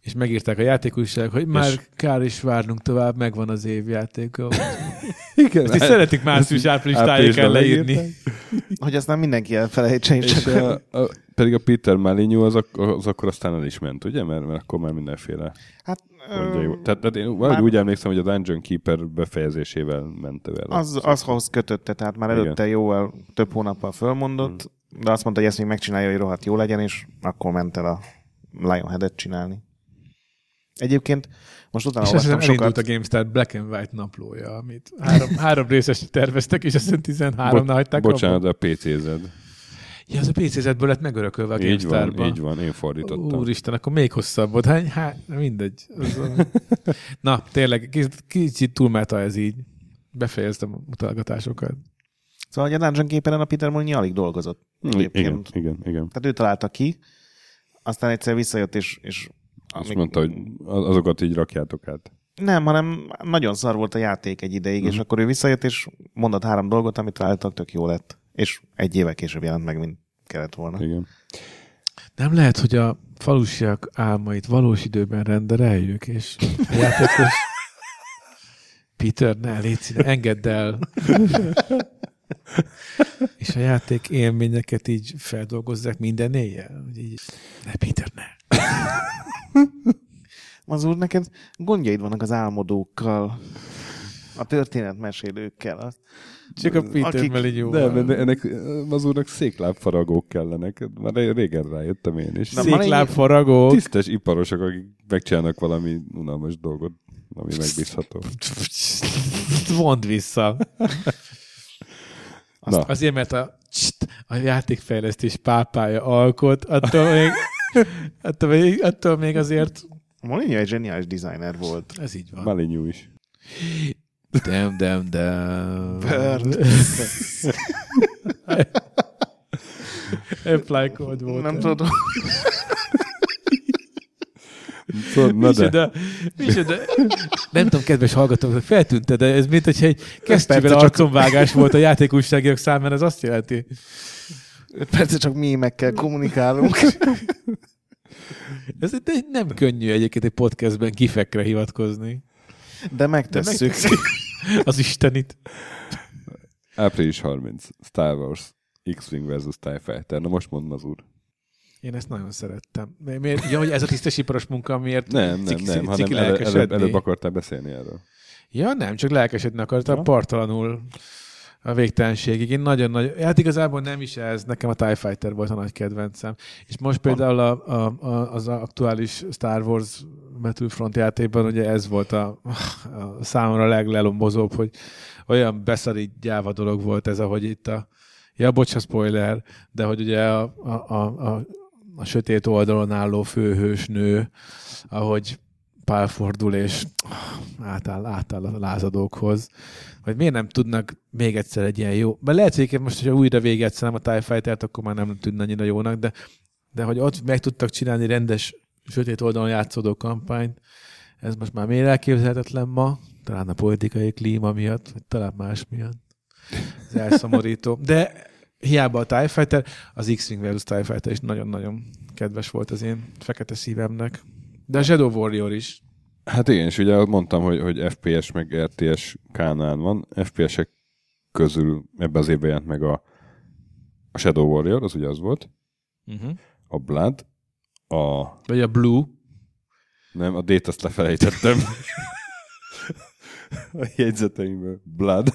C: És megírták a játékújság, hogy már
A: És-
C: kár is várnunk tovább, megvan az évjátéka.
A: Igen.
C: Ezt is szeretik március-április
A: Áprilisban Ah,
C: tájéken leírni.
A: leírták.
B: Hogy aztán mindenki elfelejtsen, és
A: És
B: csak
A: a, a, pedig a Peter Malignyú az, ak- az akkor aztán el is ment, ugye? Mert, mert akkor már mindenféle.
B: Hát,
A: mondja
B: ö,
A: jó. Tehát, tehát én valahogy
B: már-
A: úgy emlékszem, hogy a Dungeon Keeper befejezésével ment ő el.
B: az, az ahhoz kötötte, tehát már
A: Igen. Mm.
B: előtte jóval több hónappal fölmondott, de azt mondta, hogy ezt még megcsinálja, hogy rohadt jó legyen, és akkor ment el a Lionhead-et csinálni. Egyébként most utána
C: És azt hiszem
B: olvastam
C: elindult
B: sokat.
C: a GameStar Black and White naplója, amit három, három részes terveztek, és azt hiszem 13 nál hagyták.
A: Bocsánat,
C: abba.
A: de a PC-zed.
C: Ja, az a PC-zetből lett megörökölve a
A: Így van,
C: GameStar-ba.
A: így van, én fordítottam.
C: Úristen, akkor még hosszabb volt. Hány, há, mindegy. Az a- Na, tényleg, kicsit, kicsit túlmeta ez így. Befejeztem a utalgatásokat.
B: Szóval hogy a Dungeon Keeperen a Peter Molyneux alig dolgozott.
A: igen,
B: Egyébként.
A: Mm, igen, igen.
B: Tehát ő találta ki, aztán egyszer visszajött, és, és
A: Azt
B: még-
A: mondta, hogy az- azokat így rakjátok át.
B: Nem, hanem nagyon szar volt a játék egy ideig,
A: Mhm.
B: és akkor ő visszajött, és mondott három dolgot, amit találtak, tök jó lett. És egy évvel később jelent meg, mint kellett volna.
A: Igen.
C: Nem lehet, hogy a falusiak álmait valós időben rendereljük, és a játékos... Peter, ne, légy színe, engedd el. és a játék élményeket így feldolgozzák minden éjjel. hogy Így, ne, Peter, ne.
B: Az úr, neked gondjaid vannak az álmodókkal, a történetmesélőkkel. Azt
C: Csak a Peter
B: Akik-
C: Akik... Melinyó.
A: De, mert ennek eh, az úrnak széklábfaragók kellenek. Már régen rájöttem én is.
B: Na,
A: Na,
B: ma-
C: Széklábfaragók.
A: Tisztes iparosok, akik megcsinálnak valami unalmas dolgot. ami megbízható.
C: Vond vissza.
A: Na,
C: Azért, mert a, cst, a játékfejlesztés pápája alkot, attól még, attól még, attól még azért
B: Molinja egy zseniális designer volt.
C: ez így van.
A: Malinyú is.
C: Dem, dem, dem.
B: Burn.
C: Apply code volt.
B: Nem tudom.
A: Tudod, Szóval, na de,
C: Micsoda, micsoda. Nem tudom, kedves hallgatók, feltűnte, de ez mint, hogyha egy kesztyűvel
B: perce csak-
C: arcomvágás volt a játékújságírók számára, ez azt jelenti.
B: Öt percet csak mémekkel kommunikálunk.
C: Ez egy- nem könnyű egyébként egy podcastben gifekre hivatkozni.
B: De megtesszük.
C: Az Istenit.
A: április 30, Star Wars, X-Wing versus TIE Fighter. Na most mondd az úr.
C: Én ezt nagyon szerettem. Mi- Miért? Ja, hogy ez a tisztesiparos munka, miért?
A: Nem, nem,
C: Ciki-
A: nem, hanem
C: ciki
A: elő, előbb,
C: lelkesedni.
A: előbb akartál beszélni erről.
C: Ja, nem, csak lelkesedni akartam,
A: Ja.
C: partalanul a végtelenségig. Én nagyon nagy, hát igazából nem is ez, nekem a TIE Fighter volt a nagy kedvencem. És most például a, a, a, az aktuális Star Wars Battlefront játékban ugye ez volt a, a számomra a leglelombozóbb, hogy olyan beszari gyáva dolog volt ez, ahogy itt a, ja, bocs, a spoiler, de hogy ugye a, a, a, a, a sötét oldalon álló főhős nő, ahogy pálfordul és átáll, átáll a lázadókhoz, hogy miért nem tudnak még egyszer egy ilyen jó, mert lehet, hogy egyébként most, hogyha újra végigegyszerem a TIE Fighter-t, akkor már nem tűnne annyira jónak, de, de hogy ott meg tudtak csinálni rendes, sötét oldalon játszódó kampányt, ez most már miért elképzelhetetlen ma, talán a politikai klíma miatt, vagy talán más miatt. Ez elszomorító. De hiába a TIE Fighter, az X-Wing versus TIE Fighter is nagyon-nagyon kedves volt az én fekete szívemnek. De a Shadow Warrior is.
A: Hát igen, és ugye mondtam, hogy, hogy FPS meg RTS kánál van. FPS-ek közül ebben az évben jelent meg a, a Shadow Warrior, az ugye az volt,
C: Uh-huh.
A: a Blood, a...
C: Vagy a Blue.
A: Nem, a dét azt lefelejtettem. a jegyzeteimből. Blood.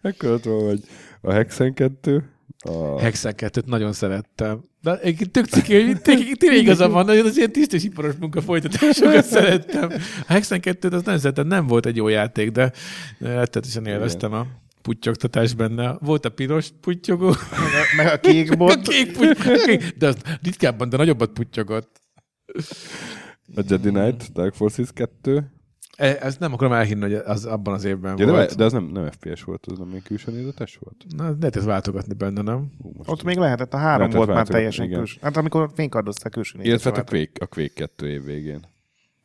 A: Ekkor ott van, hogy a Hexen 2, a...
C: Hexen 2 nagyon szerettem. De egy tök ciki, hogy té- tényleg igaza van, nagyon az ilyen tisztesiparos munka folytatásokat szerettem. A Hexen 2 az nagyon szerettem, nem volt egy jó játék, de rettetesen élveztem a puttyogtatás benne. Volt a piros puttyogó,
B: Meg a kék
C: a
B: bot.
C: kék puttyogó, de az ritkábban, de nagyobbat puttyogott.
A: a Jedi Knight, Dark Forces 2.
C: E- Ezt nem akarom elhinni, hogy az abban az évben
A: Ja, de,
C: volt.
A: de az nem, nem FPS volt, az nem még külső nézetes volt?
C: Na, lehet ezt váltogatni benne, nem?
A: Hú, most
B: Ott még lehetett, a három
A: Lehetett
B: volt már
A: váltogatni,
B: teljesen
A: igen.
B: külső. Hát amikor fénykardozták külső négyes
A: Illetve hát a
B: volt.
A: Quake, a Quake 2 év végén.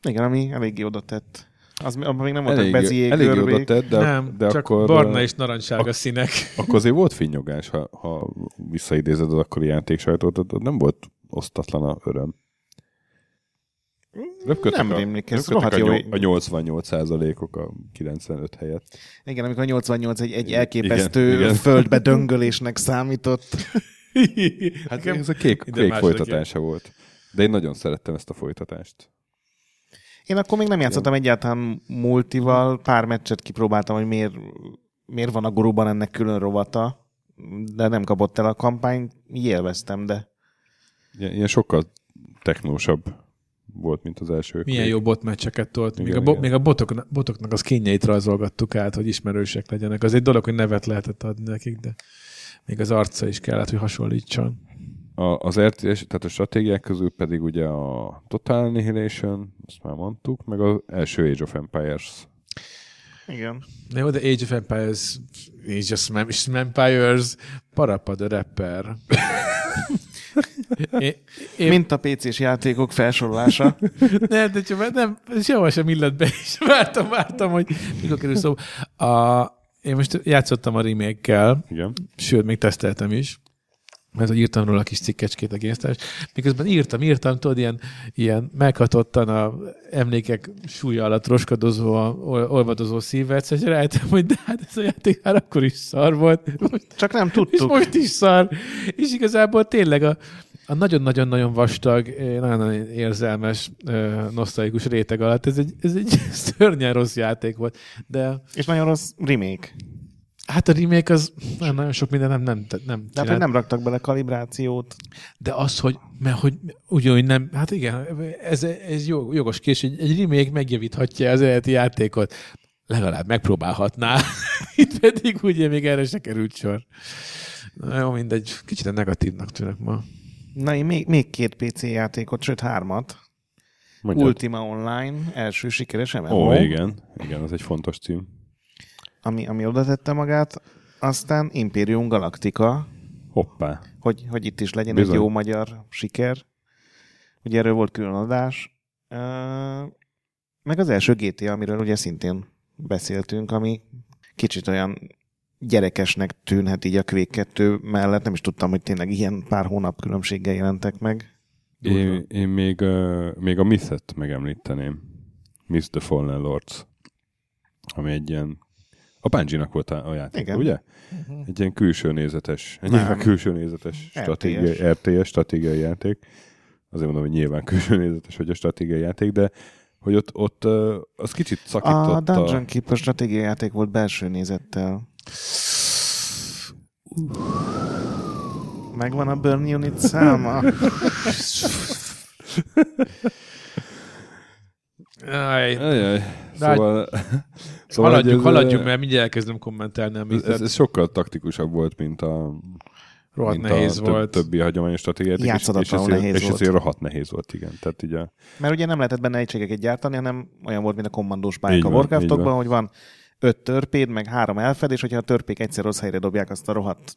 B: Igen, ami eléggé oda tett. Az, abban még nem voltak
A: Elég,
B: beziék,
A: elég oda
B: görbék.
A: tett, de,
C: nem,
A: de
C: csak
A: akkor,
C: barna és narancsága színek.
A: akkor azért volt finnyogás, ha, ha visszaidézed az akkori játék sajtót, ott ott nem volt osztatlan a öröm. Röpködtek
B: nem
A: a,
B: rémlik, ez
A: röpködtek a,
B: rohadt jó.
A: nyol- a 88 százalékok a 95 helyett.
B: Igen, amikor a 88 egy, egy
A: Igen,
B: elképesztő
A: igen.
B: földbe döngölésnek számított.
A: Hát
C: Nekem-
A: ez a kék,
C: Ide
A: kék
C: második
A: folytatása volt. De én nagyon szerettem ezt a folytatást.
B: Én akkor még nem játszottam egyáltalán multival, pár meccset kipróbáltam, hogy miért, miért van a guruban ennek külön rovata, de nem kapott el a kampány, így élveztem, de
A: Ilyen, ilyen sokkal technósabb volt, mint az első.
C: Milyen
A: Quake.
C: jó botmeccseket tolt. Még,
A: Igen,
C: a, bo-
A: igen.
C: még a botok, botoknak az kényeit rajzolgattuk át, hogy ismerősek legyenek. Az egy dolog, hogy nevet lehetett adni nekik, de még az arca is kellett, hogy hasonlítson.
A: A, az RTS, tehát a stratégiák közül pedig ugye a Total Annihilation, azt már mondtuk, meg az első Age of Empires.
B: igen.
C: Na jó, de Age of Empires, Age of Smem- Empires, Parapa the Rapper. É-
B: Én... Mint a PC-s játékok felsorolása.
C: Nem, de csak, nem, sehol sem illet be, és vártam, vártam, hogy mikor kerül szó. A, én most játszottam a remake-kel,
A: Igen.
C: sőt, még teszteltem is, mert hogy írtam róla a kis cikkecskét a géztás. Miközben írtam, írtam, tudod, ilyen, ilyen meghatottan a emlékek súlya alatt roskadozó, a- ol- olvadozó szívet, és rájöttem, hogy de hát ez a játék már akkor is szar volt, most
B: Csak nem
C: és
B: tudtuk.
C: most is szar. És igazából tényleg a, a nagyon-nagyon-nagyon vastag, eh, nagyon-nagyon érzelmes, eh, nosztalikus réteg alatt ez egy, ez egy szörnyen rossz játék volt. De
B: És nagyon rossz remake.
C: Hát a remake az nem, nagyon sok minden nem, nem, nem,
B: De hát, hogy nem raktak bele kalibrációt.
C: De az, hogy, mert hogy ugyanúgy nem, hát igen, ez, ez jó- jogos kés, egy, egy remake megjavíthatja az eredeti játékot. Legalább megpróbálhatná. Itt pedig ugye még erre se került sor. Na jó, mindegy. Kicsit a negatívnak tűnök ma.
B: Na, én még, még két PC játékot, sőt hármat.
A: Mondjad.
B: Ultima Online, első sikeres MMO,
A: Ó, oh, igen. Igen, az egy fontos cím.
B: ami, ami oda tette magát. Aztán Imperium Galactica,
A: Hoppá.
B: hogy, hogy itt is legyen
A: Bizony.
B: egy jó magyar siker. Ugye erről volt külön adás. Ö, Meg az első GTA, amiről ugye szintén beszéltünk, ami kicsit olyan gyerekesnek tűnhet így a Quake 2 mellett. Nem is tudtam, hogy tényleg ilyen pár hónap különbséggel jelentek meg.
A: Én, én még, uh, még a Myth-et megemlíteném. Myth the Fallen Lords. Ami egy ilyen... A bungie volt a a játék,
B: Igen. Mhm.
A: ugye? Egy ilyen külső nézetes, egy nyilván külső nézetes stratégiai, RTS stratégiai játék. Azért mondom, hogy nyilván külső nézetes, hogy a stratégiai játék, de hogy ott, ott ö, az kicsit szakította.
B: A Dungeon Keeper stratégiai játék volt belső nézettel. Megvan a Burn Unit száma?
C: Aj,
A: Ajaj.
C: De hát-
A: Szóval,
C: szóval haladjuk,
A: hogy ez,
C: haladjuk,
A: ö,
C: mert mindjárt elkezdem kommentálni, amit
A: Ez, ez sokkal taktikusabb volt, mint a,
C: rohadt
A: mint
C: nehéz
A: a
C: volt.
A: Több, többi hagyományos stratégiát.
B: Játszadatlanul
A: és, ezért-
B: nehéz
A: és
B: volt.
A: ezért rohadt nehéz volt, igen. Tehát így a,
B: Mert ugye nem lehetett benne egységeket gyártani, hanem olyan volt, mint a kommandós
A: Így
B: pályák a
A: van, így
B: Warcraftokban,
A: van.
B: hogy van öt törpéd, meg három elfed, és hogyha a törpék egyszer rossz helyre dobják azt a rohadt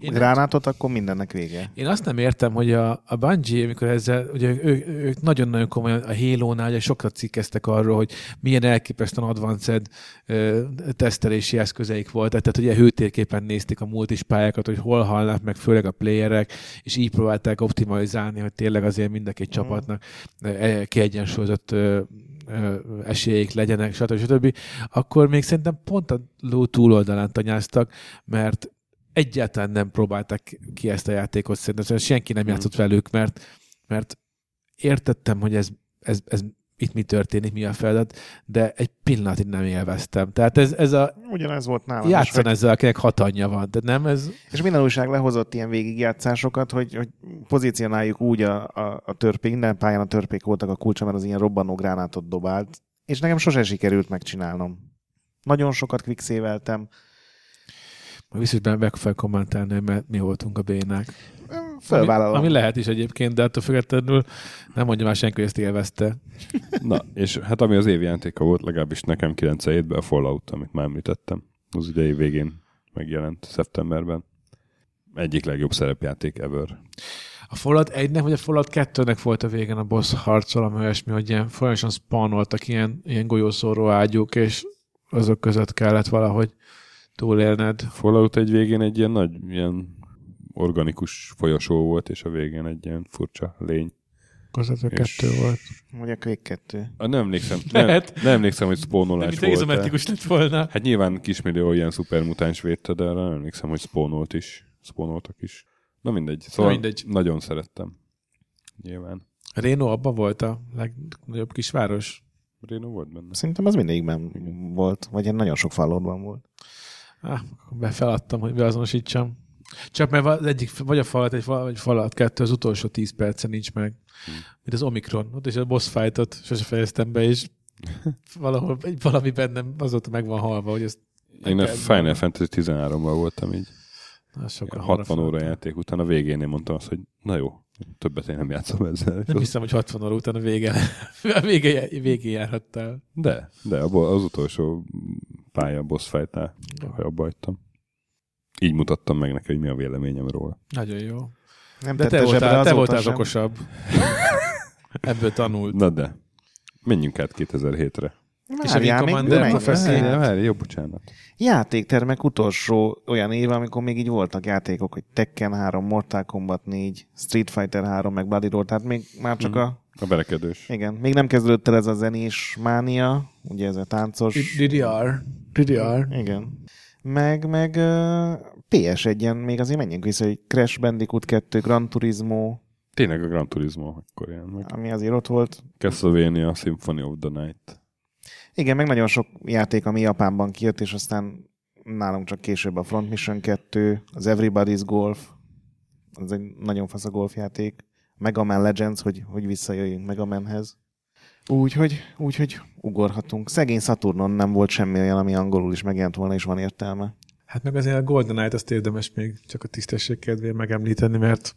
C: Én-
B: gránátot, akkor mindennek vége.
C: Én azt nem értem, hogy a, a Bungie, amikor ezzel, ugye ő, ők nagyon-nagyon komolyan a Halo-nál, ugye sokat cikkeztek arról, hogy milyen elképesztően advanced ö, tesztelési eszközeik volt, tehát ugye hőtérképen nézték a múlt is pályákat, hogy hol halnak, meg főleg a playerek, és így próbálták optimalizálni, hogy tényleg azért mind a két csapatnak ö, e, kiegyensúlyozott ö, ö, esélyeik legyenek, stb. stb. Akkor még szerintem pont a ló túloldalán tanyáztak, mert egyáltalán nem próbálták ki ezt a játékot, szerintem Szerintem senki nem játszott velük, mert, mert értettem, hogy ez, ez, ez itt mi történik, mi a feladat, de egy pillanatig nem élveztem. Tehát ez, ez a,
B: Ugyanez volt nálam. is,
C: játszan
B: hogy-
C: ezzel, akinek hatanja van, de nem ez...
B: És minden újság lehozott ilyen végigjátszásokat, hogy, hogy pozícionáljuk úgy a, a, a törpék, minden pályán a törpék voltak a kulcsa, mert az ilyen robbanó gránátot dobált, és nekem sose sikerült megcsinálnom. Nagyon sokat quickséveltem,
C: Majd viszont benne meg fel kommentálni, mert mi voltunk a bénák.
B: fölvállalom.
C: Ami, ami lehet is egyébként, de attól függetlenül nem mondja már senki, hogy ezt élvezte.
A: na, és hát ami az év játéka volt, legalábbis nekem 97-ben a Fallout, amit már említettem. Az ugye év végén megjelent szeptemberben. Egyik legjobb szerepjáték ever.
C: A Fallout 1-nek vagy a Fallout 2-nek volt a végén a boss harc valami olyasmi, hogy ilyen folyamatosan spawnoltak ilyen, ilyen golyószóró ágyúk, és azok között kellett valahogy túlélned.
A: Fallout egy végén egy ilyen nagy, ilyen organikus folyosó volt, és a végén egy ilyen furcsa lény.
C: Között a
A: És-
C: kettő volt.
B: Vagy a Quake 2.
A: Ah, Nem emlékszem, nem,
C: Lehet.
A: nem emlékszem, hogy spónolás
C: Mint
A: volt.
C: izometikus lett volna.
A: Hát nyilván kismillió ilyen szupermutáns védte, de arra nem emlékszem, hogy spónolt is. Spónoltak is. Na mindegy. Szóval Na
C: mindegy.
A: mindegy. nagyon szerettem. Nyilván.
C: Réno abba volt a legnagyobb kisváros.
A: Reno volt benne.
B: Szerintem az mindegyikben volt, vagy ilyen nagyon sok fallóban volt.
C: Ah, akkor be feladtam, hogy beazonosítsam. Csak mert az egyik, vagy a falat egy, val- vagy falat kettő, az utolsó 10 perce nincs meg. Mint az Omikron. Ott is a boss fightot sose fejeztem be, és valahol egy- valami bennem azóta meg van halva, hogy ezt
A: Én a
C: kell-
A: Final Fantasy 13-ban voltam így.
C: na, sokkal
A: 60
C: hamarabb
A: óra
C: feladtam.
A: játék után a végén én mondtam azt, hogy na jó, többet én nem játszom ezzel. És
C: Nem
A: az-
C: hiszem, hogy 60 óra után a vége, a vége, végén járhattál.
A: De, de abból az utolsó pálya boss fightnál abba hagytam. Így mutattam meg neki, hogy mi a véleményem róla.
C: Nagyon jó.
B: Nem
C: De te
B: tette zsebre
C: voltál, te
B: azóta
C: voltál az
B: sem.
C: okosabb. Ebből tanult.
A: Na de, menjünk át 2007-re.
C: És
B: Várjál,
C: a Wing
B: még
C: Commander
B: menjünk
C: professzor-
B: át.
A: Várj, várj, jó, bocsánat.
B: Játéktermek utolsó olyan éve, amikor még így voltak játékok, hogy Tekken 3, Mortal Kombat 4, Street Fighter 3, meg Bloody Roar, tehát még már
C: Mhm.
B: csak a...
A: A berekedős.
B: Igen, még nem kezdődött el ez a zenés mánia, ugye ez a táncos...
C: DDR. DDR.
B: Igen. Meg, meg uh, PS1-en még azért menjünk vissza, hogy Crash Bandicoot 2, Gran Turismo,
A: Tényleg a Gran Turismo akkor ilyen meg.
B: ami azért ott volt.
A: Castlevania Symphony of the Night.
B: Igen, meg nagyon sok játék, ami Japánban kijött, és aztán nálam csak később a Front Mission 2, az Everybody's Golf, az egy nagyon fasz a golfjáték, Mega Man Legends, hogy, hogy visszajöjjünk Mega Manhez. Úgyhogy, úgyhogy ugorhatunk. Szegény Saturnon nem volt semmi olyan, ami angolul is megjelent volna, és van értelme.
C: Hát meg azért a Golden Knight azt érdemes még csak a tisztesség kedvéért megemlíteni, mert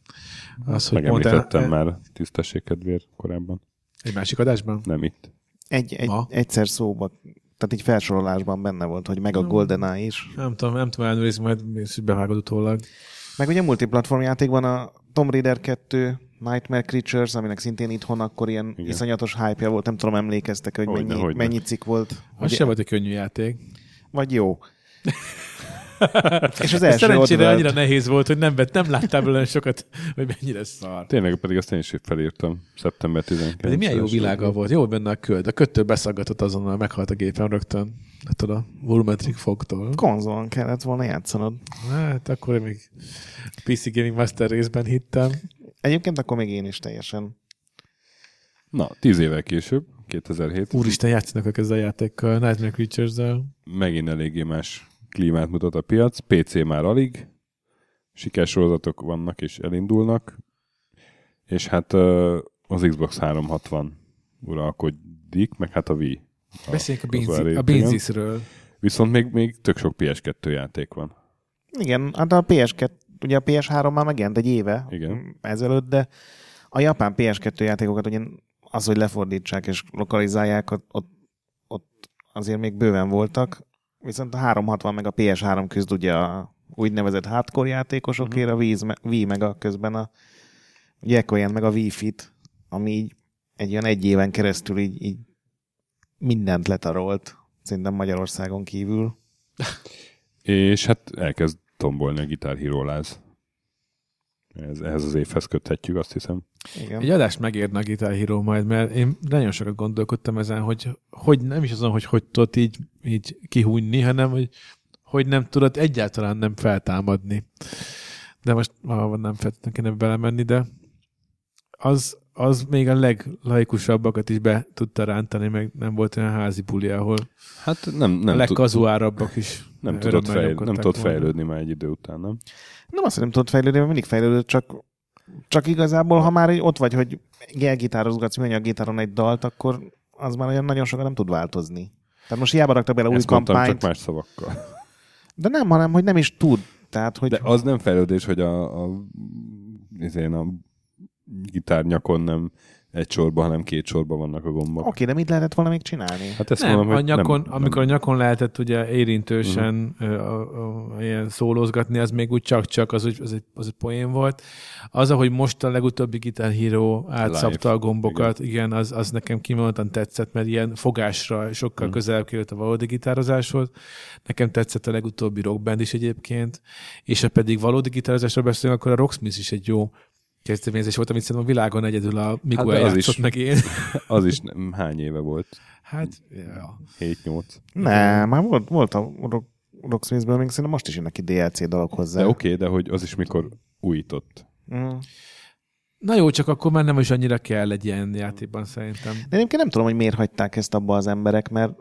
C: az, hogy pont
A: Megemlítettem
C: el,
A: már tisztesség kedvéért korábban.
C: egy másik adásban.
A: Nem itt.
B: Egy, egy,
C: Ma?
B: egyszer szóba, tehát így felsorolásban benne volt, hogy meg a GoldenEye is.
C: Nem tudom, nem tudom ellenőrizni, majd biztos, hogy bevágod utólag.
B: Meg ugye multiplatform játékban a Tomb Raider 2, Nightmare Creatures, aminek szintén itthon akkor ilyen Igen.
A: Igen.
B: iszonyatos hype volt, nem tudom, emlékeztek, hogy
A: Hogyne,
B: mennyi,
A: hogyne.
B: mennyi cikk volt.
C: Az
B: Hogy,
C: sem volt egy könnyű játék.
B: Vagy jó. És az első
C: Szerencsére
B: Oddworld.
C: annyira nehéz volt, hogy nem, vett, nem láttál belőle sokat, hogy mennyire szar.
A: Tényleg pedig azt én is felírtam. Szeptember 19.
C: Pedig milyen jó világa volt, jó benne a köd. A köttől beszaggatott azonnal, meghalt a gépen rögtön. Hát a volumetric fogtól.
B: Konzolon kellett volna játszanod.
C: Hát akkor én még PC Gaming Master részben hittem.
B: Egyébként akkor még én is teljesen.
A: Na, tíz évvel később, 2007.
C: Úristen, játszanak ők ezzel a játékkal, Nightmare Creatures-del.
A: megint eléggé más klímát mutat a piac, PC már alig, sikersorozatok vannak és elindulnak, és hát ö, az Xbox 360 uralkodik, meg hát a Wii.
C: Beszéljünk a,
A: az
C: Beansi-
A: elég,
C: a Beansisről.
A: igen. Viszont még, még tök sok PS2 játék van.
B: Igen, hát a PS2, ugye a PS3 már megjelent egy éve
A: Igen.
B: ezelőtt, de a japán PS2 játékokat ugye az, hogy lefordítsák és lokalizálják, ott, ott, ott azért még bőven voltak, viszont a 360 meg a PS3 küzd ugye a úgynevezett hardcore játékosokért, a Wii, me- Wii meg a közben a ugye ekkor jelent meg a Wii Fit, ami így egy olyan egy éven keresztül így, így mindent letarolt, szerintem Magyarországon kívül.
A: És hát elkezd tombolni a Guitar Hero láz. Ez, ehhez az évhez köthetjük, azt hiszem.
B: Igen.
C: Egy adást megérne a Guitar Hero majd, mert én nagyon sokat gondolkodtam ezen, hogy, hogy nem is azon, hogy hogy tudod így, így kihújni, hanem hogy, hogy nem tudod egyáltalán nem feltámadni. De most valahol nem feltétlenül kéne belemenni, de az, az még a leglaikusabbakat is be tudta rántani, meg nem volt olyan házi buli, ahol
A: Hát nem,
C: nem a
A: nem, tud,
C: legkazuárabbak is
A: nem,
C: örömmel
A: tudott, fejl, nem
C: nyomkodták
A: tudott
C: volna.
A: fejlődni már egy idő után, nem?
B: Nem azt, hogy nem tudod fejlődni, mert mindig fejlődött, csak, csak igazából, ha már ott vagy, hogy gelgitározgatsz műanyaggitáron egy dalt, akkor az már olyan nagyon sokan nem tud változni. Tehát most hiába raktak bele új
A: Ezt mondtam,
B: kampányt,
A: csak más szavakkal.
B: de nem, hanem, hogy nem is tud. Tehát, hogy
A: De az nem fejlődés, hogy a, a, izén a gitárnyakon nem egy sorba, hanem két sorba vannak a gombok.
B: oké, de mit lehetett volna még csinálni?
A: Hát ezt
C: nem,
A: mondom,
C: a
A: hogy
C: nyakon,
A: nem, Mhm.
C: amikor a nyakon lehetett ugye érintősen uh-huh. a, a, a, ilyen szólózgatni, az még úgy csak-csak, az, úgy- az, egy, az egy poén volt. Az, ahogy most a legutóbbi Guitar Hero
A: Live.
C: átszabta a gombokat, igen, igen az, az nekem kimondottan tetszett, mert ilyen fogásra sokkal
A: Mhm.
C: uh-huh. közelebb került a valódi gitározáshoz. Nekem tetszett a legutóbbi rockband is egyébként, és ha pedig valódi gitározásról beszélünk, akkor a Rocksmith is egy jó kezdeményezés volt, amit szerintem a világon egyedül a Mikó
A: de
C: hát
A: az
C: eljátszott
A: is.
C: meg én.
A: Az is nem, hány éve volt?
C: Hát, ja.
A: 7-8.
B: Nem, már volt, volt a rock, Rocksmithből, még szerintem most is jönnek ki DLC dalok hozzá.
A: De oké, okay, de hogy az is mikor újított.
B: Mm.
C: Na jó, csak akkor már nem is annyira kell egy ilyen játékban szerintem.
B: De egyébként nem tudom, hogy miért hagyták ezt abba az emberek, mert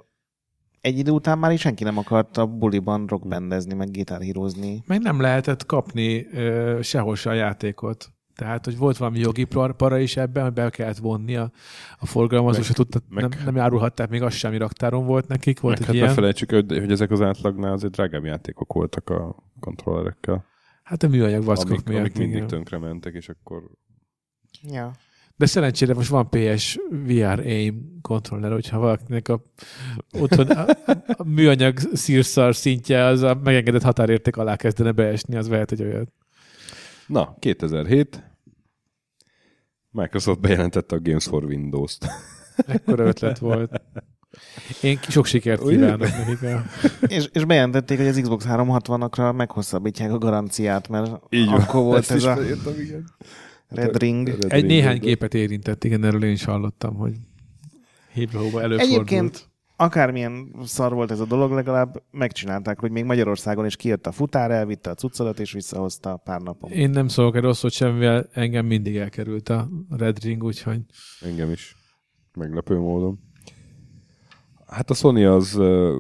B: egy idő után már is senki nem akart a buliban rockbendezni, meg gitárhírozni.
C: Meg nem lehetett kapni ö, sehol se a játékot. Tehát, hogy volt valami jogi par- para is ebben, hogy be kellett vonni a, a forgalmazó,
A: Meg-
C: se tudta,
A: meg-
C: nem, nem árulhatták még azt sem, ami raktáron volt nekik, volt
A: Volt
C: egy
A: Meg hát ne
C: ilyen.
A: felejtsük, hogy, hogy ezek az átlagnál azért drágább játékok voltak a kontrollerekkel,
C: Hát a műanyag vackok
A: amik, amik
C: miatt.
A: mindig
C: igen.
A: tönkre mentek, és akkor
B: Ja.
C: De szerencsére most van PS VR aim kontroller, hogyha valakinek a, otthon a, a műanyag szírszar szintje az a megengedett határérték alá kezdene beesni, az vehet egy olyat.
A: Na, 2007. Microsoft bejelentette a Games for Windows-t.
C: Ekkora ötlet volt. Én sok sikert
A: Ugye?
C: kívánok nekik. A...
B: És, és bejelentették, hogy az Xbox 360-akra meghosszabbítják a garanciát, mert
A: Így van.
B: akkor volt
A: Ezt
B: ez
A: is
B: a
A: felírtam, igen.
B: Red Ring.
A: Red
C: Egy
A: Ring
C: néhány
A: Windows.
C: gépet érintett, igen, erről én is hallottam, hogy Hébrahóba előfordult.
B: Egyébként akármilyen szar volt ez a dolog, legalább megcsinálták, hogy még Magyarországon is kijött a futár, elvitte a cuccodat és visszahozta pár napon.
C: Én nem szólok egy rosszot semmivel, engem mindig elkerült a Red Ring, úgyhogy
A: Engem is. Meglepő módon. Hát a Sony az ö,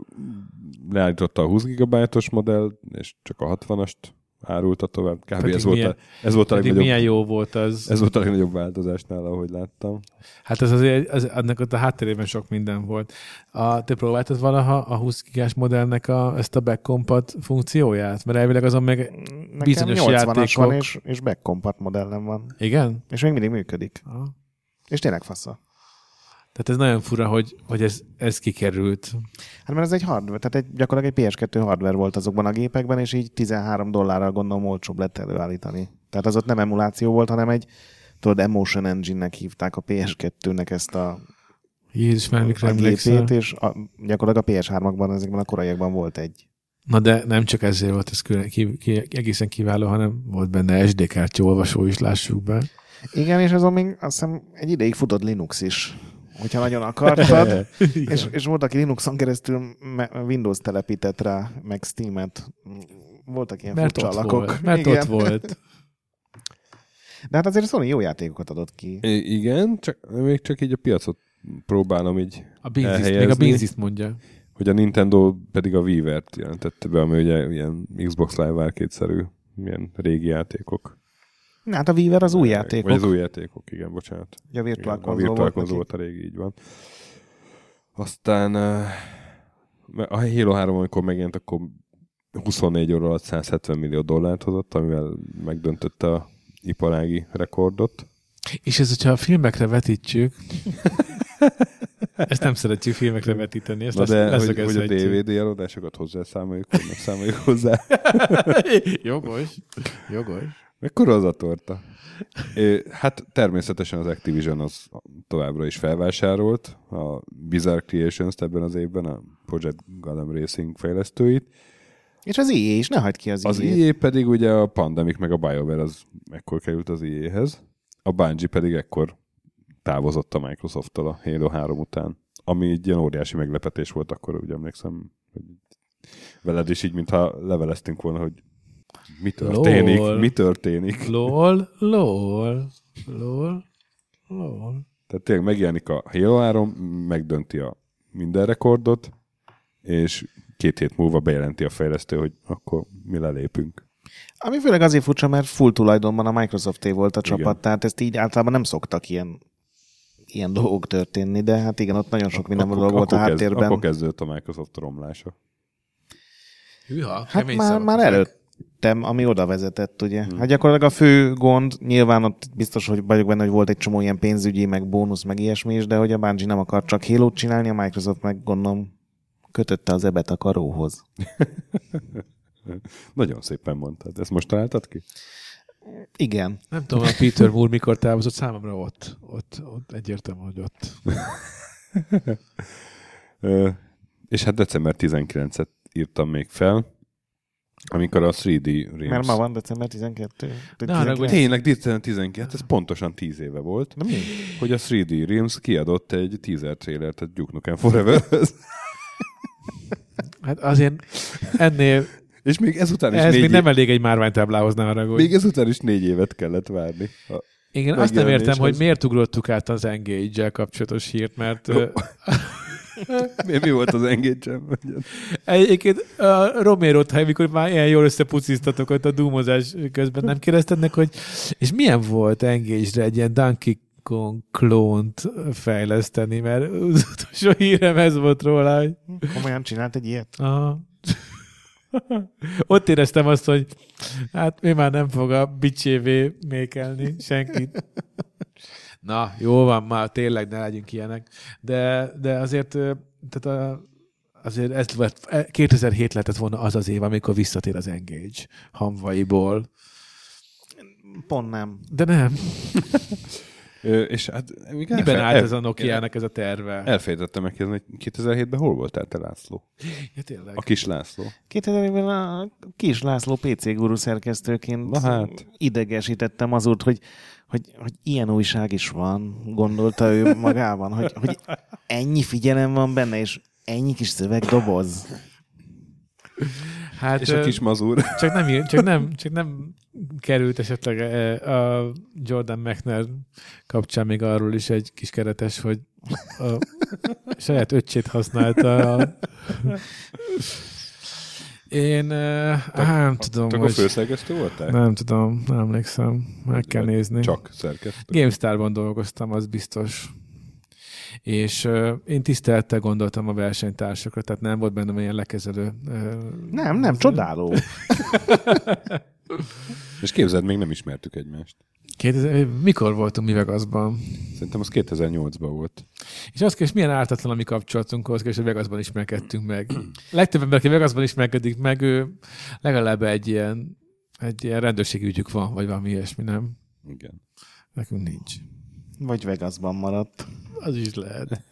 A: leállította a 20 gigabájtos modell, és csak a 60-ast árulta tovább. Kb.
C: Pedig
A: ez volt,
C: milyen-
A: a, ez volt a
C: Pedig
A: legnagyobb
C: milyen jó volt az.
A: ez volt a legnagyobb változásnál, ahogy láttam.
C: Hát ez azért, az, annak ott a hátterében sok minden volt. A, te próbáltad valaha a 20 gigás modellnek a, ezt a backcompat funkcióját? Mert elvileg azon meg...
B: Nekem
C: Bizonyos
B: 80-as van,
C: játékok.
B: és, és backcompat modellem van.
C: Igen?
B: És még mindig működik.
C: Aha.
B: És tényleg fasza.
C: Tehát ez nagyon fura, hogy, hogy ez, ez kikerült.
B: Hát mert ez egy hardware, tehát egy, gyakorlatilag egy PS2 hardware volt azokban a gépekben, és így 13 dollárral gondolom olcsóbb lett előállítani. Tehát az ott nem emuláció volt, hanem egy, tudod, Emotion Engine-nek hívták a PS2-nek ezt a,
C: Jézus már mikre
B: a gépét,
C: emlékszel.
B: és a, gyakorlatilag a PS3-akban, ezekben a koraiakban volt egy.
C: Na de nem csak ezért volt ez külön, ki, ki, egészen kiváló, hanem volt benne SD kártya olvasó is, lássuk be.
B: Igen, és azon még azt hiszem egy ideig futott Linux is, hogyha nagyon akartad. és, és volt, aki Linuxon keresztül me- Windows telepített rá, meg Steam-et. Voltak ilyen
C: Mert
B: furcsa
C: ott
B: alakok.
C: volt. Mert
B: Igen.
C: ott volt.
B: De hát azért a Sony jó játékokat adott ki.
A: I- igen, csak, még csak így a piacot próbálom így,
C: A Binzist, még a
A: Elhelyezni.
C: Binzist mondja.
A: hogy a Nintendo pedig a Weaver-t jelentette be, ami ugye ilyen Xbox Live Arcade-szerű, ilyen régi játékok.
B: Na, Hát a Weaver az új játékok.
A: Vagy az új játékok, igen, bocsánat.
B: Ugye a Virtual
A: Igen, a
B: Console
A: Virtual
B: volt
A: Console
B: neki.
A: volt a régi, így van. Aztán eh, a Halo 3, amikor megjelent, akkor 24 óra alatt 170 millió dollárt hozott, amivel megdöntötte a iparági rekordot.
C: És ez, hogyha a filmekre vetítjük, ezt nem szeretjük filmekre vetíteni, ezt
A: Na de,
C: lesz,
A: hogy, hogy a DVD eladásokat hozzászámoljuk, vagy nem számoljuk hozzá.
C: Jogos, jogos.
A: Mekkora az a torta? Ö, Hát természetesen az Activision az továbbra is felvásárolt a Bizarre creations ebben az évben, a Project Gotham Racing fejlesztőit,
B: És az EA is, ne hagyd ki az, E
A: Az
B: EA-t.
A: EA pedig ugye a Pandemic meg a BioWare az ekkor került az EA-hez, a Bungie pedig ekkor távozott a Microsoft-tal a Halo 3 után, ami egy ilyen óriási meglepetés volt akkor, úgy emlékszem, hogy veled is így, mintha leveleztünk volna, hogy mi történik,
C: Lol.
A: mi történik.
C: Lol, lol, lol, lol.
A: Tehát tényleg megjelenik a Halo 3, megdönti a minden rekordot, és két hét múlva bejelenti a fejlesztő, hogy akkor mi lelépünk.
B: Ami főleg azért furcsa, mert full tulajdonban a Microsofté volt a
A: Igen.
B: csapat, tehát ezt így általában nem szoktak ilyen, ilyen dolgok történni, de hát igen, ott nagyon sok minden dolog volt a
A: kezd-
B: háttérben.
A: akkor kezdődött a Microsoft romlása.
C: Hűha,
B: Hát
C: kemény
B: már,
C: szavak
B: már
C: ezek.
B: előttem, ami oda vezetett, ugye. Hát gyakorlatilag a fő gond, nyilván ott biztos, hogy vagyok benne, hogy volt egy csomó ilyen pénzügyi, meg bónusz, meg ilyesmi is, de hogy a Bungie nem akar csak halo csinálni, a Microsoft meg gondolom kötötte az ebet a karóhoz.
A: Nagyon szépen mondtad. Ezt most találtad ki?
B: Igen.
C: Nem tudom, a Peter Moore mikor távozott, számomra ott, ott, ott egyértelmű, hogy ott.
A: Ö, és hát december 19-et írtam még fel, amikor a 3D Realms...
B: Mert ma van december 12.
C: Ne haragudj.
A: Tényleg december 19, ez pontosan 10 éve volt,
B: De mi?
A: hogy a 3D Realms kiadott egy teaser trailert a Duke Nukem forever
C: Hát azért ennél,
A: És még ezután is,
C: ez
A: négy,
C: még
A: nem
C: nem elég egy márványtáblához, ne haragudj.
A: még ezután is négy évet kellett várni. A-
C: Igen, azt nem értem,
A: megjelenéshez.
C: hogy miért ugrottuk át az engage kapcsolatos hírt, mert ö,
A: Mi, mi volt az engage
C: egyébként a romero amikor már ilyen jól összepuciztatok ott a dúmozás közben, nem kérdezted meg, hogy és milyen volt engage egy ilyen Donkey Kong klónt fejleszteni, mert az utolsó hírem ez volt róla, hogy
B: Komolyan csinált egy ilyet?
C: Aha. Ott éreztem azt, hogy hát mi már nem fog a bicsévé mékelni senkit. Na, jó van már, tényleg ne legyünk ilyenek. De, de azért, ö, tehát a, azért ez lett, e, 2007 lehetett volna az az év, amikor visszatér az Engage hamvaiból.
B: Pont nem.
C: De nem.
A: Ö, és hát... még
C: Miben
A: elfe-
C: állt
A: el-
C: ez a Nokia-nak ez a terve?
A: Elfejtettem megkérdezni, hogy 2007-ben hol voltál te László?
C: Ja, tényleg.
A: A kis László.
C: Hát,
B: 2000-ben a Kis László PC guru szerkesztőként
A: Na hát.
B: idegesítettem azót, hogy, hogy, hogy ilyen újság is van, gondolta ő magában, hogy, hogy ennyi figyelem van benne, és ennyi kis szövegdoboz.
C: Hát,
A: És a
C: ö,
A: kis mazur.
C: Csak nem, ír- csak nem, csak nem került esetleg eh, a Jordan McNair kapcsán még arról is egy kis keretes, hogy a saját öccsét használta. A... Én eh, á, nem tudom,
A: Akkor
C: hogy...
A: főszerkesztő voltál?
C: Nem tudom, nem emlékszem. Meg kell
A: Vagy
C: nézni.
A: Csak szerkesztő.
C: GameStar-ban dolgoztam, az biztos. És uh, én tisztelettel gondoltam a versenytársakra, tehát nem volt bennem ilyen lekezelő. Uh,
B: Nem, nem, csodáló.
A: És képzeld, még nem ismertük egymást.
C: 2000, mikor voltunk mi Vegasban?
A: Szerintem az 2008-ban volt.
C: És azt kérdés, milyen ártatlan a mi kapcsolatunk, az kérdés, hogy Vegasban ismerkedtünk meg. Legtöbb ember, aki Vegasban ismerkedik meg, ő legalább egy ilyen, egy ilyen rendőrségi ügyük van, vagy valami ilyesmi, nem?
A: Igen.
C: Nekünk nincs.
B: Vagy Vegasban maradt.
C: Az is lehet.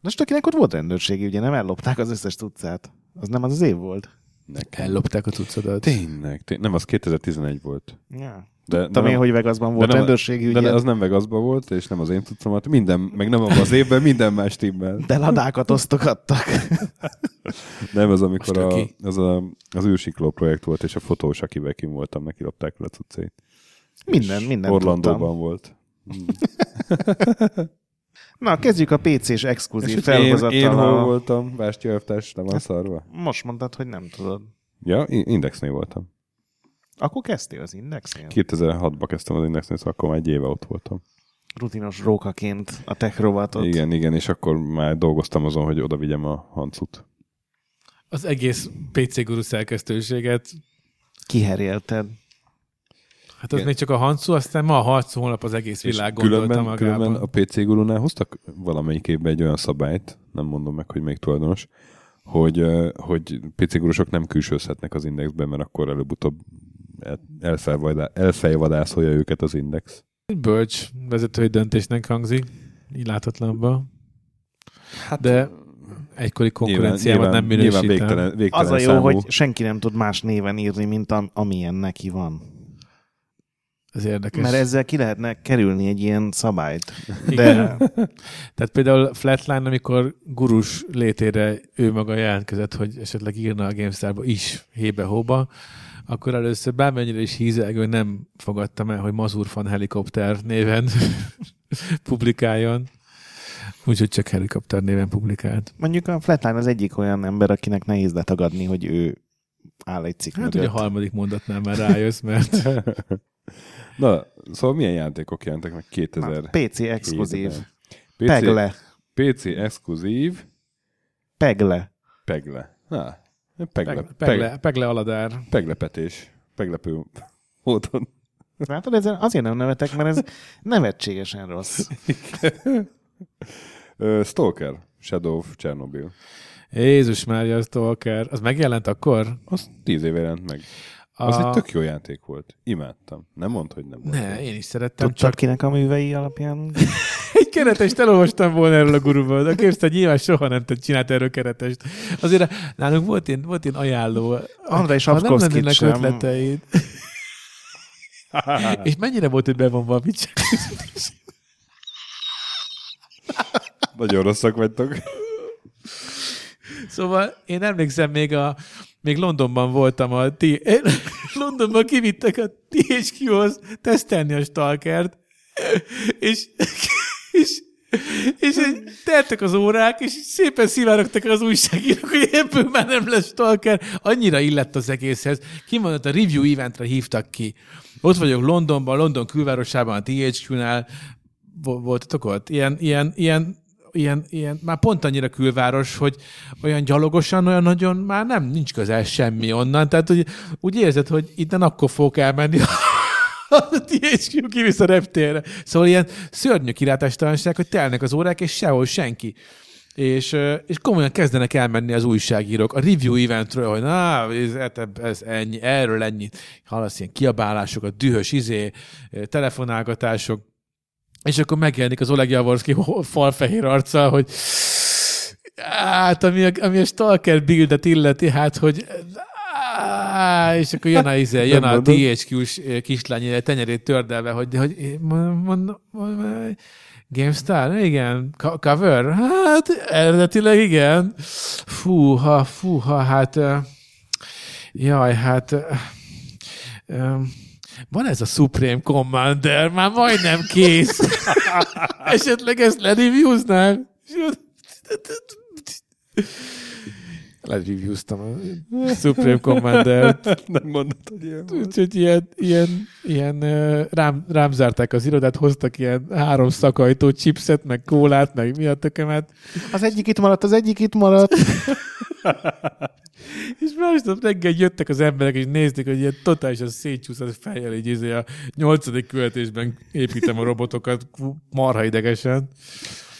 B: Na, akinek ott volt rendőrségi, ugye nem ellopták az összes tudcát. Az nem az az év volt.
A: Nekem.
C: Ellopták a cuccodat.
A: Tényleg, tény- nem, az 2011 volt.
B: Ja.
A: De, de
B: Tudom én,
A: nem-
B: hogy Vegasban volt
A: nem-
B: rendőrségi,
A: de
B: ugye.
A: ne- az nem Vegasban volt, és nem az én tudtomat, minden, meg nem abban az évben, minden más timmel.
B: De ladákat osztogattak.
A: Nem, az amikor
C: Most
A: a,
C: aki.
A: az, a, az űrsikló projekt volt, és a fotós, akivel kim voltam, neki lopták le a cuccait.
B: Minden,
A: És
B: minden
A: Orlandóban
B: tudtam. Hmm.
A: volt. Mm.
B: Na, kezdjük a PC-s
A: És hogy
B: exkluzív
A: én,
B: felhozattal.
A: én hol
B: a-
A: voltam, Vástya Öftárs, le van szarva?
B: Most mondtad, hogy nem tudod.
A: Ja, I- Indexnél voltam.
B: Akkor kezdtél az indexnél?
A: 2006-ban kezdtem az Indexnél, szóval akkor már egy éve ott voltam.
B: Rutinos rókaként a tech rovatot.
A: Igen, igen, és akkor már dolgoztam azon, hogy oda vigyem a hancut.
C: Az egész PC guru szerkesztőséget,
B: Kiherélted.
C: hát az
A: Igen.
C: még csak a Hancu, aztán ma a harcú holnap az egész világ
A: És
C: gondolta
A: különben, különben
C: magában.
A: a PC gurunál hoztak valamelyik évben egy olyan szabályt, nem mondom meg, hogy még tulajdonos, hogy, ö, hogy PC gurusok nem külsőzhetnek az indexben, mert akkor előbb-utóbb el- elfelvadá- elfejvadászolja őket az index.
C: Egy Bölcs vezetői döntésnek hangzik, így láthatlanban.
A: Hát
C: De egykori konkurenciában nem minősítem.
A: Nyilván végtelen, végtelen
B: Az a jó,
A: számú.
B: hogy senki nem tud más néven írni, mint am- amilyen neki van.
C: Ez érdekes.
B: Mert ezzel ki lehetne kerülni egy ilyen szabályt. De
C: Igen. Tehát például Flatline, amikor gurus létére ő maga jelentkezett, hogy esetleg írna a GameStar-ba is hébe-hóba, akkor először bármennyire is hízelgő nem fogadtam el, hogy Mazur van helikopter néven publikáljon. Úgyhogy csak helikopter néven publikált.
B: mondjuk a Flatline az egyik olyan ember, akinek nehéz letagadni, hogy ő áll egy cikk
C: Hát ugye a
B: mögött.
C: harmadik mondatnál már rájössz, mert
A: Na, szóval milyen játékok jelentek meg
B: Na,
A: 2000?
B: PC exkluzív.
A: hétben? PC,
B: Pegle.
A: PC exkluzív,
B: Pegle.
A: Pegle. Na, pegle,
C: Pegle, Pegle, Pegle Aladár.
A: Peglepetés. Peglepő módon.
B: Látod, ezzel azért nem nevetek, mert ez nevetségesen rossz.
A: Ö, Stalker. Shadow of Chernobyl.
C: Jézus Mária, az Stalker. Az megjelent akkor?
A: Az tíz éve jelent meg. Az egy tök jó játék volt. Imádtam. Nem mondd, hogy nem volt.
C: Ne, én is szerettem,
B: Tudtad
C: csak
B: csak... kinek a művei alapján?
C: egy keretest elolvastam volna erről a guruból, de képzeld, nyilván soha nem tud csinált erről keretest. Azért nálunk volt ilyen, volt ilyen ajánló.
B: Andrei
C: Ha nem
B: Sapkovszkit
C: lennének
B: sem.
C: ötleteid. És mennyire volt, hogy bevonva a mit
A: Nagyon rosszak vagytok.
C: Szóval én emlékszem, még, a, még Londonban voltam a ti... én- Londonban kivittek a THQ-hoz tesztelni a stalkert, és, és és így teltek az órák, és így szépen szivárogtak az újságírók, hogy ebből már nem lesz stalker. Annyira illett az egészhez. Kimondott a review eventre hívtak ki. Ott vagyok Londonban, London külvárosában, a THQ-nál. Vo- Voltatok ott? Ilyen, ilyen, ilyen, ilyen, ilyen, már pont annyira külváros, hogy olyan gyalogosan, olyan nagyon már nem, nincs közel semmi onnan. Tehát úgy, úgy érzed, hogy innen akkor fogok elmenni, a THQ kivisz a reptérre. Szóval ilyen szörnyű kilátástalanság, hogy telnek az órák, és sehol senki. És, ö, és komolyan kezdenek elmenni az újságírók a review eventről, hogy na, ez, ez ennyi, erről ennyit. Hallasz ilyen kiabálásokat, dühös izé, ö, telefonálgatások. És akkor megjelenik az Oleg Javorszki ho- falfehér arccal, hogy hát, ami a, ami a Stalker buildet illeti, hát, hogy Á, és akkor jön a, izé, jön a THQ-s kislány ilyen tenyerét tördelve, hogy, hogy mondom, mondom, mondom, GameStar? Igen. Co- Cover? Hát eredetileg igen. Fúha, fúha, hát... ö, Jaj, hát... ö, ö, Van ez a Supreme Commander, már majdnem kész. Esetleg ezt lereviewznál? Lereviewztam a Supreme Commander-t.
A: Nem mondod, hogy ilyen volt.
C: Úgyhogy ilyen, ilyen, ilyen ö, rám, rám zárták az irodát, hoztak ilyen három szakajtó chipset, meg kólát, meg mi a tökömet,
B: Az egyik itt maradt, az egyik itt maradt.
C: és másnap reggel jöttek az emberek, és nézték, hogy ilyen totálisan szétcsúszott fejjel, így izé a nyolcadik követésben építem a robotokat fú, marha idegesen.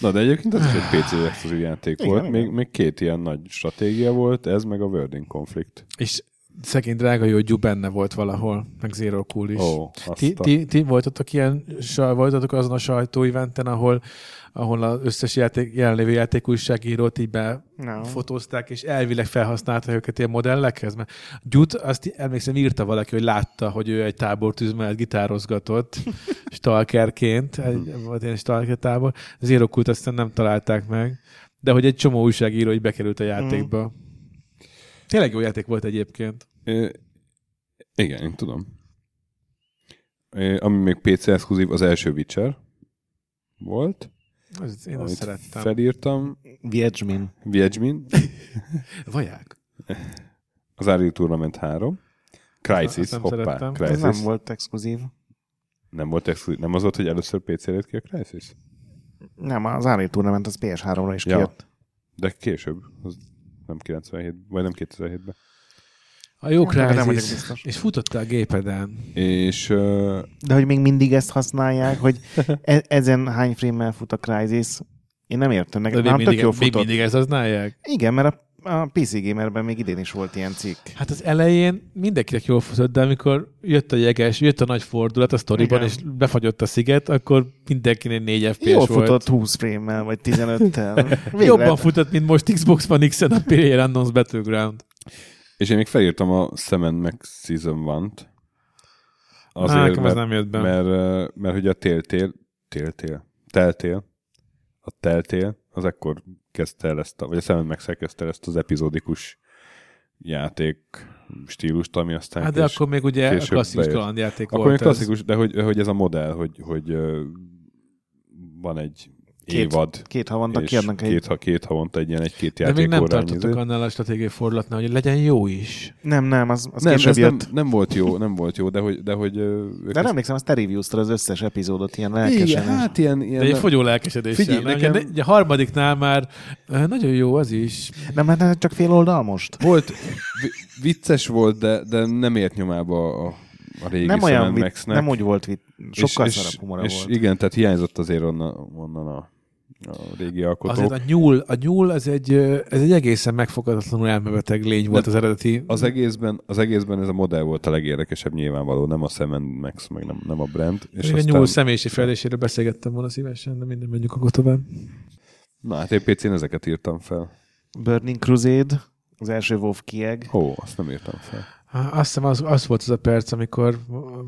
A: Na, de egyébként ez is egy PC exkluzív játék
B: Igen,
A: volt.
B: igen.
A: Még, még két ilyen nagy stratégia volt, ez meg a Wording Conflict.
C: És szegény drága jó gyú benne volt valahol, meg Zero Cool is.
A: Ó, azt
C: Ti,
A: a-
C: ti, ti voltatok ilyen, saj, voltatok azon a sajtóiventen, ahol, ahol az összes játék, jelenlévő játék újságírót így be
B: No.
C: fotózták, és elvileg felhasználta őket ilyen modellekhez, mert Gyut, azt í- emlékszem, írta valaki, hogy látta, hogy ő egy tábortűz mellett gitározgatott, stalkerként, egy,
A: Mhm.
C: volt ilyen stalker tábor, az írókult aztán nem találták meg, de hogy egy csomó újságíró így bekerült a
A: Mhm.
C: játékba. Tényleg jó játék volt egyébként.
A: Ö, igen, én tudom. Ö, ami még PC exkluzív, az első Witcher volt.
C: Ez- Én azt
A: amit
C: szerettem.
A: Felírtam.
B: Viedzsmin.
A: Viedzsmin,
C: Vaják.
A: az Unreal Tournament 3. Crisis,
C: Azt nem
A: hoppá,
C: szerettem.
A: Crisis.
B: Ez nem
A: Nem volt.
B: volt exkluzív.
A: nem volt exkluzív. Nem az volt, hogy először PC-re jött ki a Crisis?
B: Nem, az Unreal Tournament az PS3-ra is
A: Ja.
B: kijött.
A: De később, az nem 97, vagy nem 2007-ben.
C: A jó
B: Nem vagyok
C: Crysis.
B: biztos.
C: És futotta a gépeden.
A: És ö,
B: De hogy még mindig ezt használják, hogy e- ezen hány frame fut a Crysis, én nem értem.
C: De
B: Nekem
C: még
B: nem tök
C: mindig,
B: jó
C: még
B: futott.
C: mindig ezt használják.
B: Igen, mert a, a PC Gamerben még idén is volt ilyen cikk.
C: Hát az elején mindenkinek jól futott, de amikor jött a jeges, jött a nagy fordulat a sztoriban,
B: Igen.
C: és befagyott a sziget, akkor mindenkinek 4 FPS
B: Jól
C: volt.
B: futott 20 frame-mel, vagy 15-tel. Végre-
C: Jobban futott, mint most Xbox One X-en a Player Unknown's Battleground.
A: És én még felírtam a Semen meg Season One-t.
C: Azért,
A: Azért,
C: nekem az
A: mert,
C: nem jött be. Hát
A: mert, ö, mert, hogy a téltél, téltél, teltél, a teltél, az ekkor kezdte el ezt, a, vagy a Semen meg Szel kezdte el ezt az epizódikus játék stílust, ami aztán
C: Hát de
A: kés-
C: akkor még ugye a
A: később
C: klasszikus
A: bejött.
C: kalandjáték
A: akkor
C: volt
A: még klasszikus, de hogy, hogy ez a modell, hogy, hogy ö, van egy
B: Két-
A: évad,
B: Két havonta
A: és
B: kiadnak egy...
A: két, ha, két izé. havonta egy ilyen egy-két
C: ez. De
A: játék
C: még nem
A: órányi
C: tartottak annál a stratégiai fordulatnál, hogy legyen jó is.
B: Nem, nem, az, az nem,
A: Nem,
B: később
A: ez
B: jött.
A: nem, nem, volt jó, nem volt jó, de hogy, de hogy ö, ők
B: De
A: ezt-
B: nem emlékszem, azt te reviewztad az összes epizódot ilyen lelkesen.
A: Igen,
B: és-
A: hát ilyen...
C: De
A: ilyen
C: egy fogyó lelkesedéssel.
A: Figyelj,
C: nem?
A: nekem-
C: Ugye, ne- ugye a harmadiknál már eh, nagyon jó az is.
B: Nem, mert ez csak fél oldal most.
A: Volt, vi- vicces volt, de, de nem ért nyomába a, a régi
B: nem olyan,
A: Sam
B: vit,
A: Maxnek.
B: nem úgy volt, vit, sokkal
A: és,
B: szarabb humora
A: és,
B: volt.
A: És igen, tehát hiányzott azért onnan, onnan a, a régi alkotó.
C: Azért a nyúl, a nyúl az egy, ö, ez egy egészen megfoghatatlanul elmebeteg lény volt az eredeti.
A: Az egészben, az egészben ez a modell volt a legérdekesebb nyilvánvaló, nem a Sam Max, meg nem, nem a brand. És
C: És a
A: aztán,
C: nyúl személyiség fejlődéséről beszélgettem volna szívesen, de minden menjünk akkor tovább.
A: Na hát én PC-n ezeket írtam fel.
B: Burning Crusade, az első WoW kieg.
A: Ó, azt nem írtam fel.
C: Á, Azt hiszem, az, az volt az a perc, amikor,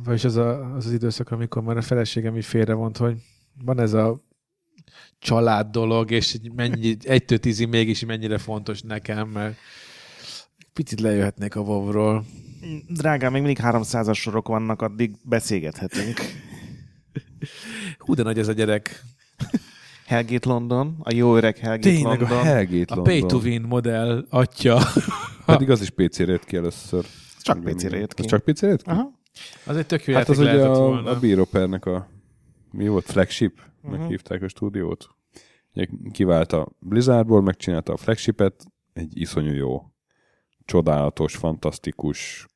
C: vagyis az, a, az az időszak, amikor már a feleségem így félrevont, hogy van ez a család dolog, és így mennyi, egytől tízig mégis mennyire fontos nekem, mert picit lejöhetnék a vovról.
B: Drágám, még mindig 300-as sorok vannak, addig beszélgethetünk.
C: Hú, de nagy ez a gyerek.
B: Hellgate London, a jó öreg Hellgate
C: Tényleg a
B: London.
A: Hellgate
C: A pay to
A: London.
C: win modell atya.
A: Pedig az is PC-re jött ki először.
B: Csak PC-re jött ki.
A: Az csak PC-re jött ki?
B: Aha.
C: Az egy tök jó
A: Hát
C: hát
A: az
C: játék
A: ugye
C: lehetett
A: a,
C: volna. Mhm.
A: a Bírópernek a mi volt? Flagship? Uh-huh. hívták a stúdiót. Ugye kivált a Blizzardból, megcsinálta a flagshipet, egy iszonyú jó, csodálatos, fantasztikus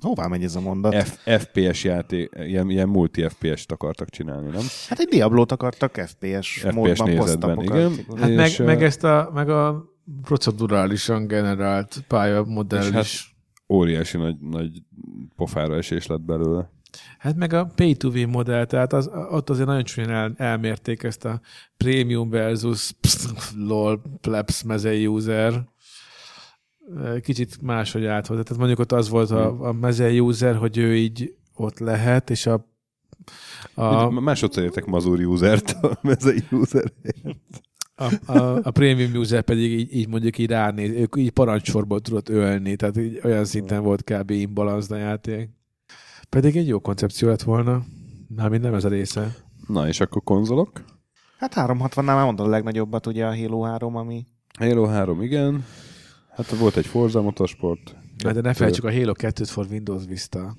B: Hová megy ez a mondat?
A: F- FPS játék, ilyen, ilyen multi FPS-t akartak csinálni, nem?
B: Hát egy Diablót akartak FPS,
A: FPS
B: módban
A: nézetben,
B: posztapokat.
A: igen.
C: Hát meg,
A: És,
C: meg,
A: ö,
C: ezt a, meg a procedurálisan generált pályamodell
A: És
C: hát,
A: hát-
C: is.
A: Óriási nagy, nagy pofára esés lett belőle.
C: Hát meg a pay to win modell, tehát az, ott azért nagyon csúnyán el, elmérték ezt a premium versus psz, lol plebs mezei user ö, kicsit máshogy áthoz. Tehát mondjuk ott az volt
A: Hm.
C: a, a mezei user, hogy ő így ott lehet, és a, a,
A: A... Másodszor értek Mazur usert, a mezei user.
C: a, a, a premium user pedig így, így mondjuk így ránéz, ők így parancsorba tudott ölni, tehát így olyan szinten volt kb. imbalansz a játék. Pedig egy jó koncepció lett volna, mármint nem ez a része.
A: Na, és akkor konzolok?
B: Hát 360-nál már mondod a legnagyobbat, ugye a Halo 3, ami...
A: Halo 3, igen. Hát volt egy Forza Motorsport.
C: Na, Hát de ne felejtsük a Halo 2-t for Windows Vista.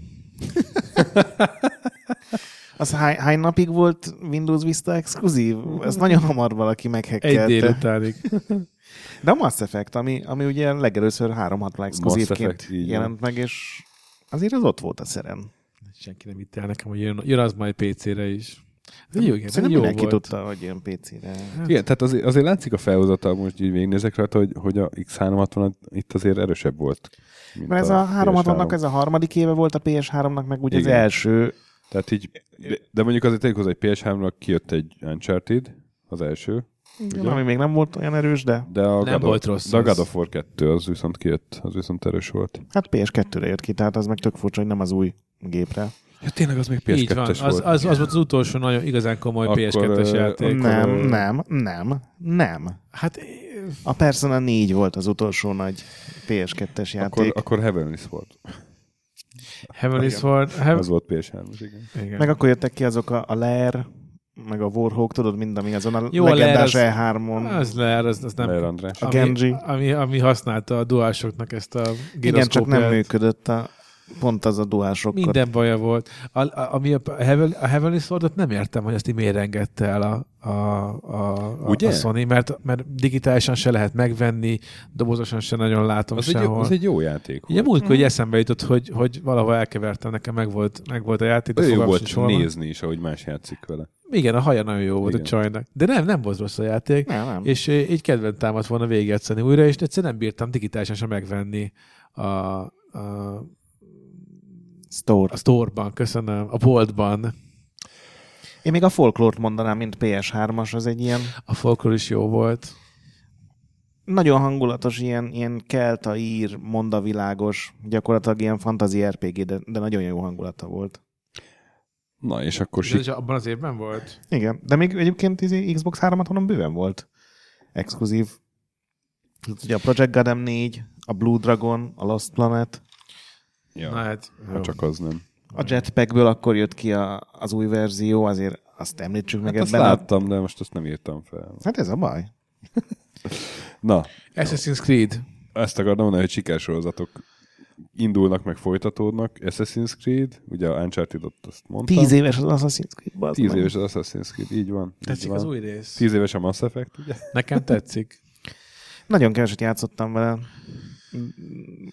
B: Az hány, hány napig volt Windows Vista exkluzív? Ez nagyon hamar valaki
C: Egy
B: meghekkelte.
C: délutánig.
B: De a Mass Effect, ami, ami ugye legelőször 360 exkluzívként
A: Effect, így van.
B: jelent meg, és azért az ott volt a szeren.
C: Senki nem hitte el nekem, hogy jön, jön az majd PC-re is. Ez jó, igen,
B: Szerintem
C: jó
B: mindenki
C: volt.
B: tudta, hogy jön PC-re.
A: Igen, tehát azért, azért látszik a felhozata, most így végignézek rajta, hogy, hogy a X360 itt azért erősebb volt. mint
B: Mert ez a
A: PS3.
B: 360-nak ez a harmadik éve volt, a PS3-nak meg ugye az
A: Igen.
B: első.
A: Tehát így, de, de mondjuk azért tegyük hozzá, hogy PS3-ra kijött egy Uncharted, az első,
B: Ugye? Ami még nem volt olyan erős, de
A: de a,
C: Nem
A: God,
C: volt
A: of,
C: rossz
A: de a
C: az.
A: God of War 2 az viszont kijött, az viszont erős volt.
B: hát PS2-re jött ki, tehát az meg tök furcsa, hogy nem az új gépre.
A: Ja, tényleg az még
C: Így van, az,
A: PS2-es
C: az,
A: volt.
C: az, volt az utolsó nagyon igazán komoly
A: Akkor,
C: PS2-es
A: ö,
C: játék.
A: akkor-
B: Nem, nem, nem, nem.
C: Hát eh,
B: A Persona 4 volt az utolsó nagy PS2-es játék.
A: Akkor, akkor Heavenly volt.
C: Heavenly Sword... Heav...
A: Az volt PS3, igen.
C: Igen.
B: Meg akkor jöttek ki azok a, a Lair, meg a Warhawk, tudod, mind ami azon a
C: Jó,
B: Jó,
C: a Lair
B: legendás E
C: az-
B: E3-on.
C: Az leer, az, az
A: Leer
C: nem...
A: András.
B: A Genji.
C: Ami, ami használta a duásoknak ezt a
B: Igen, csak nem
C: gyroszkópját.
B: működött a, pont az a duásokkal.
C: Minden baja volt. A, a, ami a, Heaven, a Heavenly Swordot nem értem, hogy azt így miért engedte el a, a, a, a,
A: Ugye?
C: a Sony, mert, mert digitálisan se lehet megvenni, dobozosan se nagyon látom
A: Az egy, jó-
C: sehol.
A: az egy jó játék
C: Ugye
A: volt.
C: múltkor hogy eszembe jutott, hogy, hogy valahol elkevertem, nekem meg volt, meg volt a játék, de
A: Ő jó
C: fogalmam
A: volt
C: sincs, hol van.
A: nézni is, ahogy más játszik vele.
C: Igen, a haja nagyon jó volt
A: Igen.
C: a csajnak. De nem, nem volt rossz a játék.
B: Nem,
A: Mm.
B: nem.
C: És ö, így kedven támadt volna végigjátszani újra, és egyszerűen nem bírtam digitálisan sem megvenni a, a,
B: Store.
C: a store-ban, köszönöm, a boltban.
B: Én még a folklórt mondanám, mint PS3-as, az egy ilyen
C: A folklór is jó volt.
B: nagyon hangulatos, ilyen, ilyen kelta, ír, mondavilágos, gyakorlatilag ilyen fantazi RPG, de, de nagyon jó hangulata volt.
A: Na, és akkor
C: De
A: sik...
C: ez abban az évben volt?
B: Igen, de még egyébként izé Xbox 360-on bőven volt exkluzív. Tehát Ugye a Project Gotham 4, a Blue Dragon, a Lost Planet,
A: Ja,
C: Na hát,
A: ha csak az nem.
B: a Jetpackből akkor jött ki a, az új verzió, azért azt említsük meg
A: Hát azt
B: ebben. A...
A: láttam, de most azt nem írtam fel.
B: Hát ez a baj.
A: Na,
C: Assassin's Creed.
A: ezt akartam mondani, hogy sikersorozatok indulnak, meg folytatódnak. Assassin's Creed, ugye a Uncharted-ot azt mondtam.
B: Tíz éves az Assassin's Creed, bazd
A: Tíz
B: meg.
A: éves az Assassin's Creed, így van. így
C: Tetszik
A: van.
C: az új rész.
A: Tíz éves a Mass Effect, ugye?
C: Nekem tetszik.
B: Nagyon keveset játszottam vele. Mm,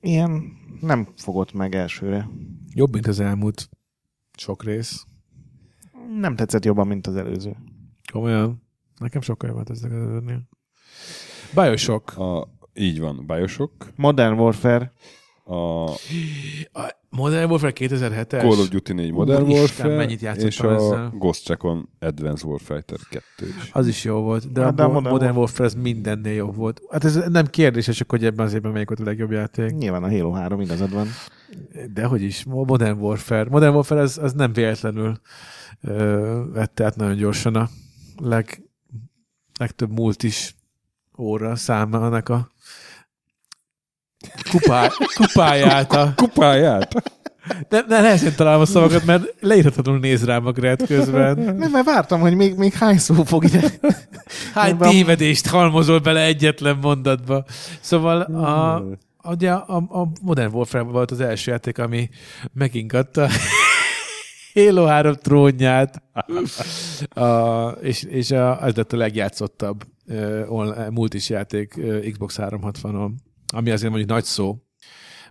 B: Ilyen nem fogott meg elsőre.
C: Jobb, mint az elmúlt sok rész.
B: Nem tetszett jobban, mint az előző.
C: Komolyan. Nekem sokkal jobb volt ezek az előzőnél. Bioshock.
A: A, így van, Bioshock,
B: Modern Warfare,
A: a
C: A Modern Warfare 2007-es?
A: Call of Duty 4 Modern
C: Úristen,
A: Warfare,
C: mennyit játszottam
A: és a
C: ezzel.
A: Ghost Recon Advanced Warfighter 2 is.
C: Az is jó volt, de,
B: Hát,
C: a,
B: de a
C: Modern,
B: Modern
C: Modern Warfare az mindennél jobb volt. Hát ez nem kérdés, csak hogy ebben az évben melyik volt a legjobb játék.
B: nyilván a Halo 3 igazad van.
C: Dehogy is, Mo- Modern Warfare. Modern Warfare az, az nem véletlenül ö, vette át nagyon gyorsan a leg, legtöbb múlt is óra száma annak a kupá, kupáját. A,
A: Kupáját!
C: ne, ne, nehezen találom a szavakat, mert leírhatatlanul néz rám a Gret közben.
B: Nem, mert vártam, hogy még, még hány szó fog ide.
C: Hány
B: Ebben-
C: tévedést halmozol bele egyetlen mondatba. Szóval a, Ugye a, a Modern Warfare volt az első játék, ami megingatta Halo 3 trónját, a, és, és a, az lett a legjátszottabb uh, online, multis játék ö, Xbox 360-on, ami azért mondjuk nagy szó,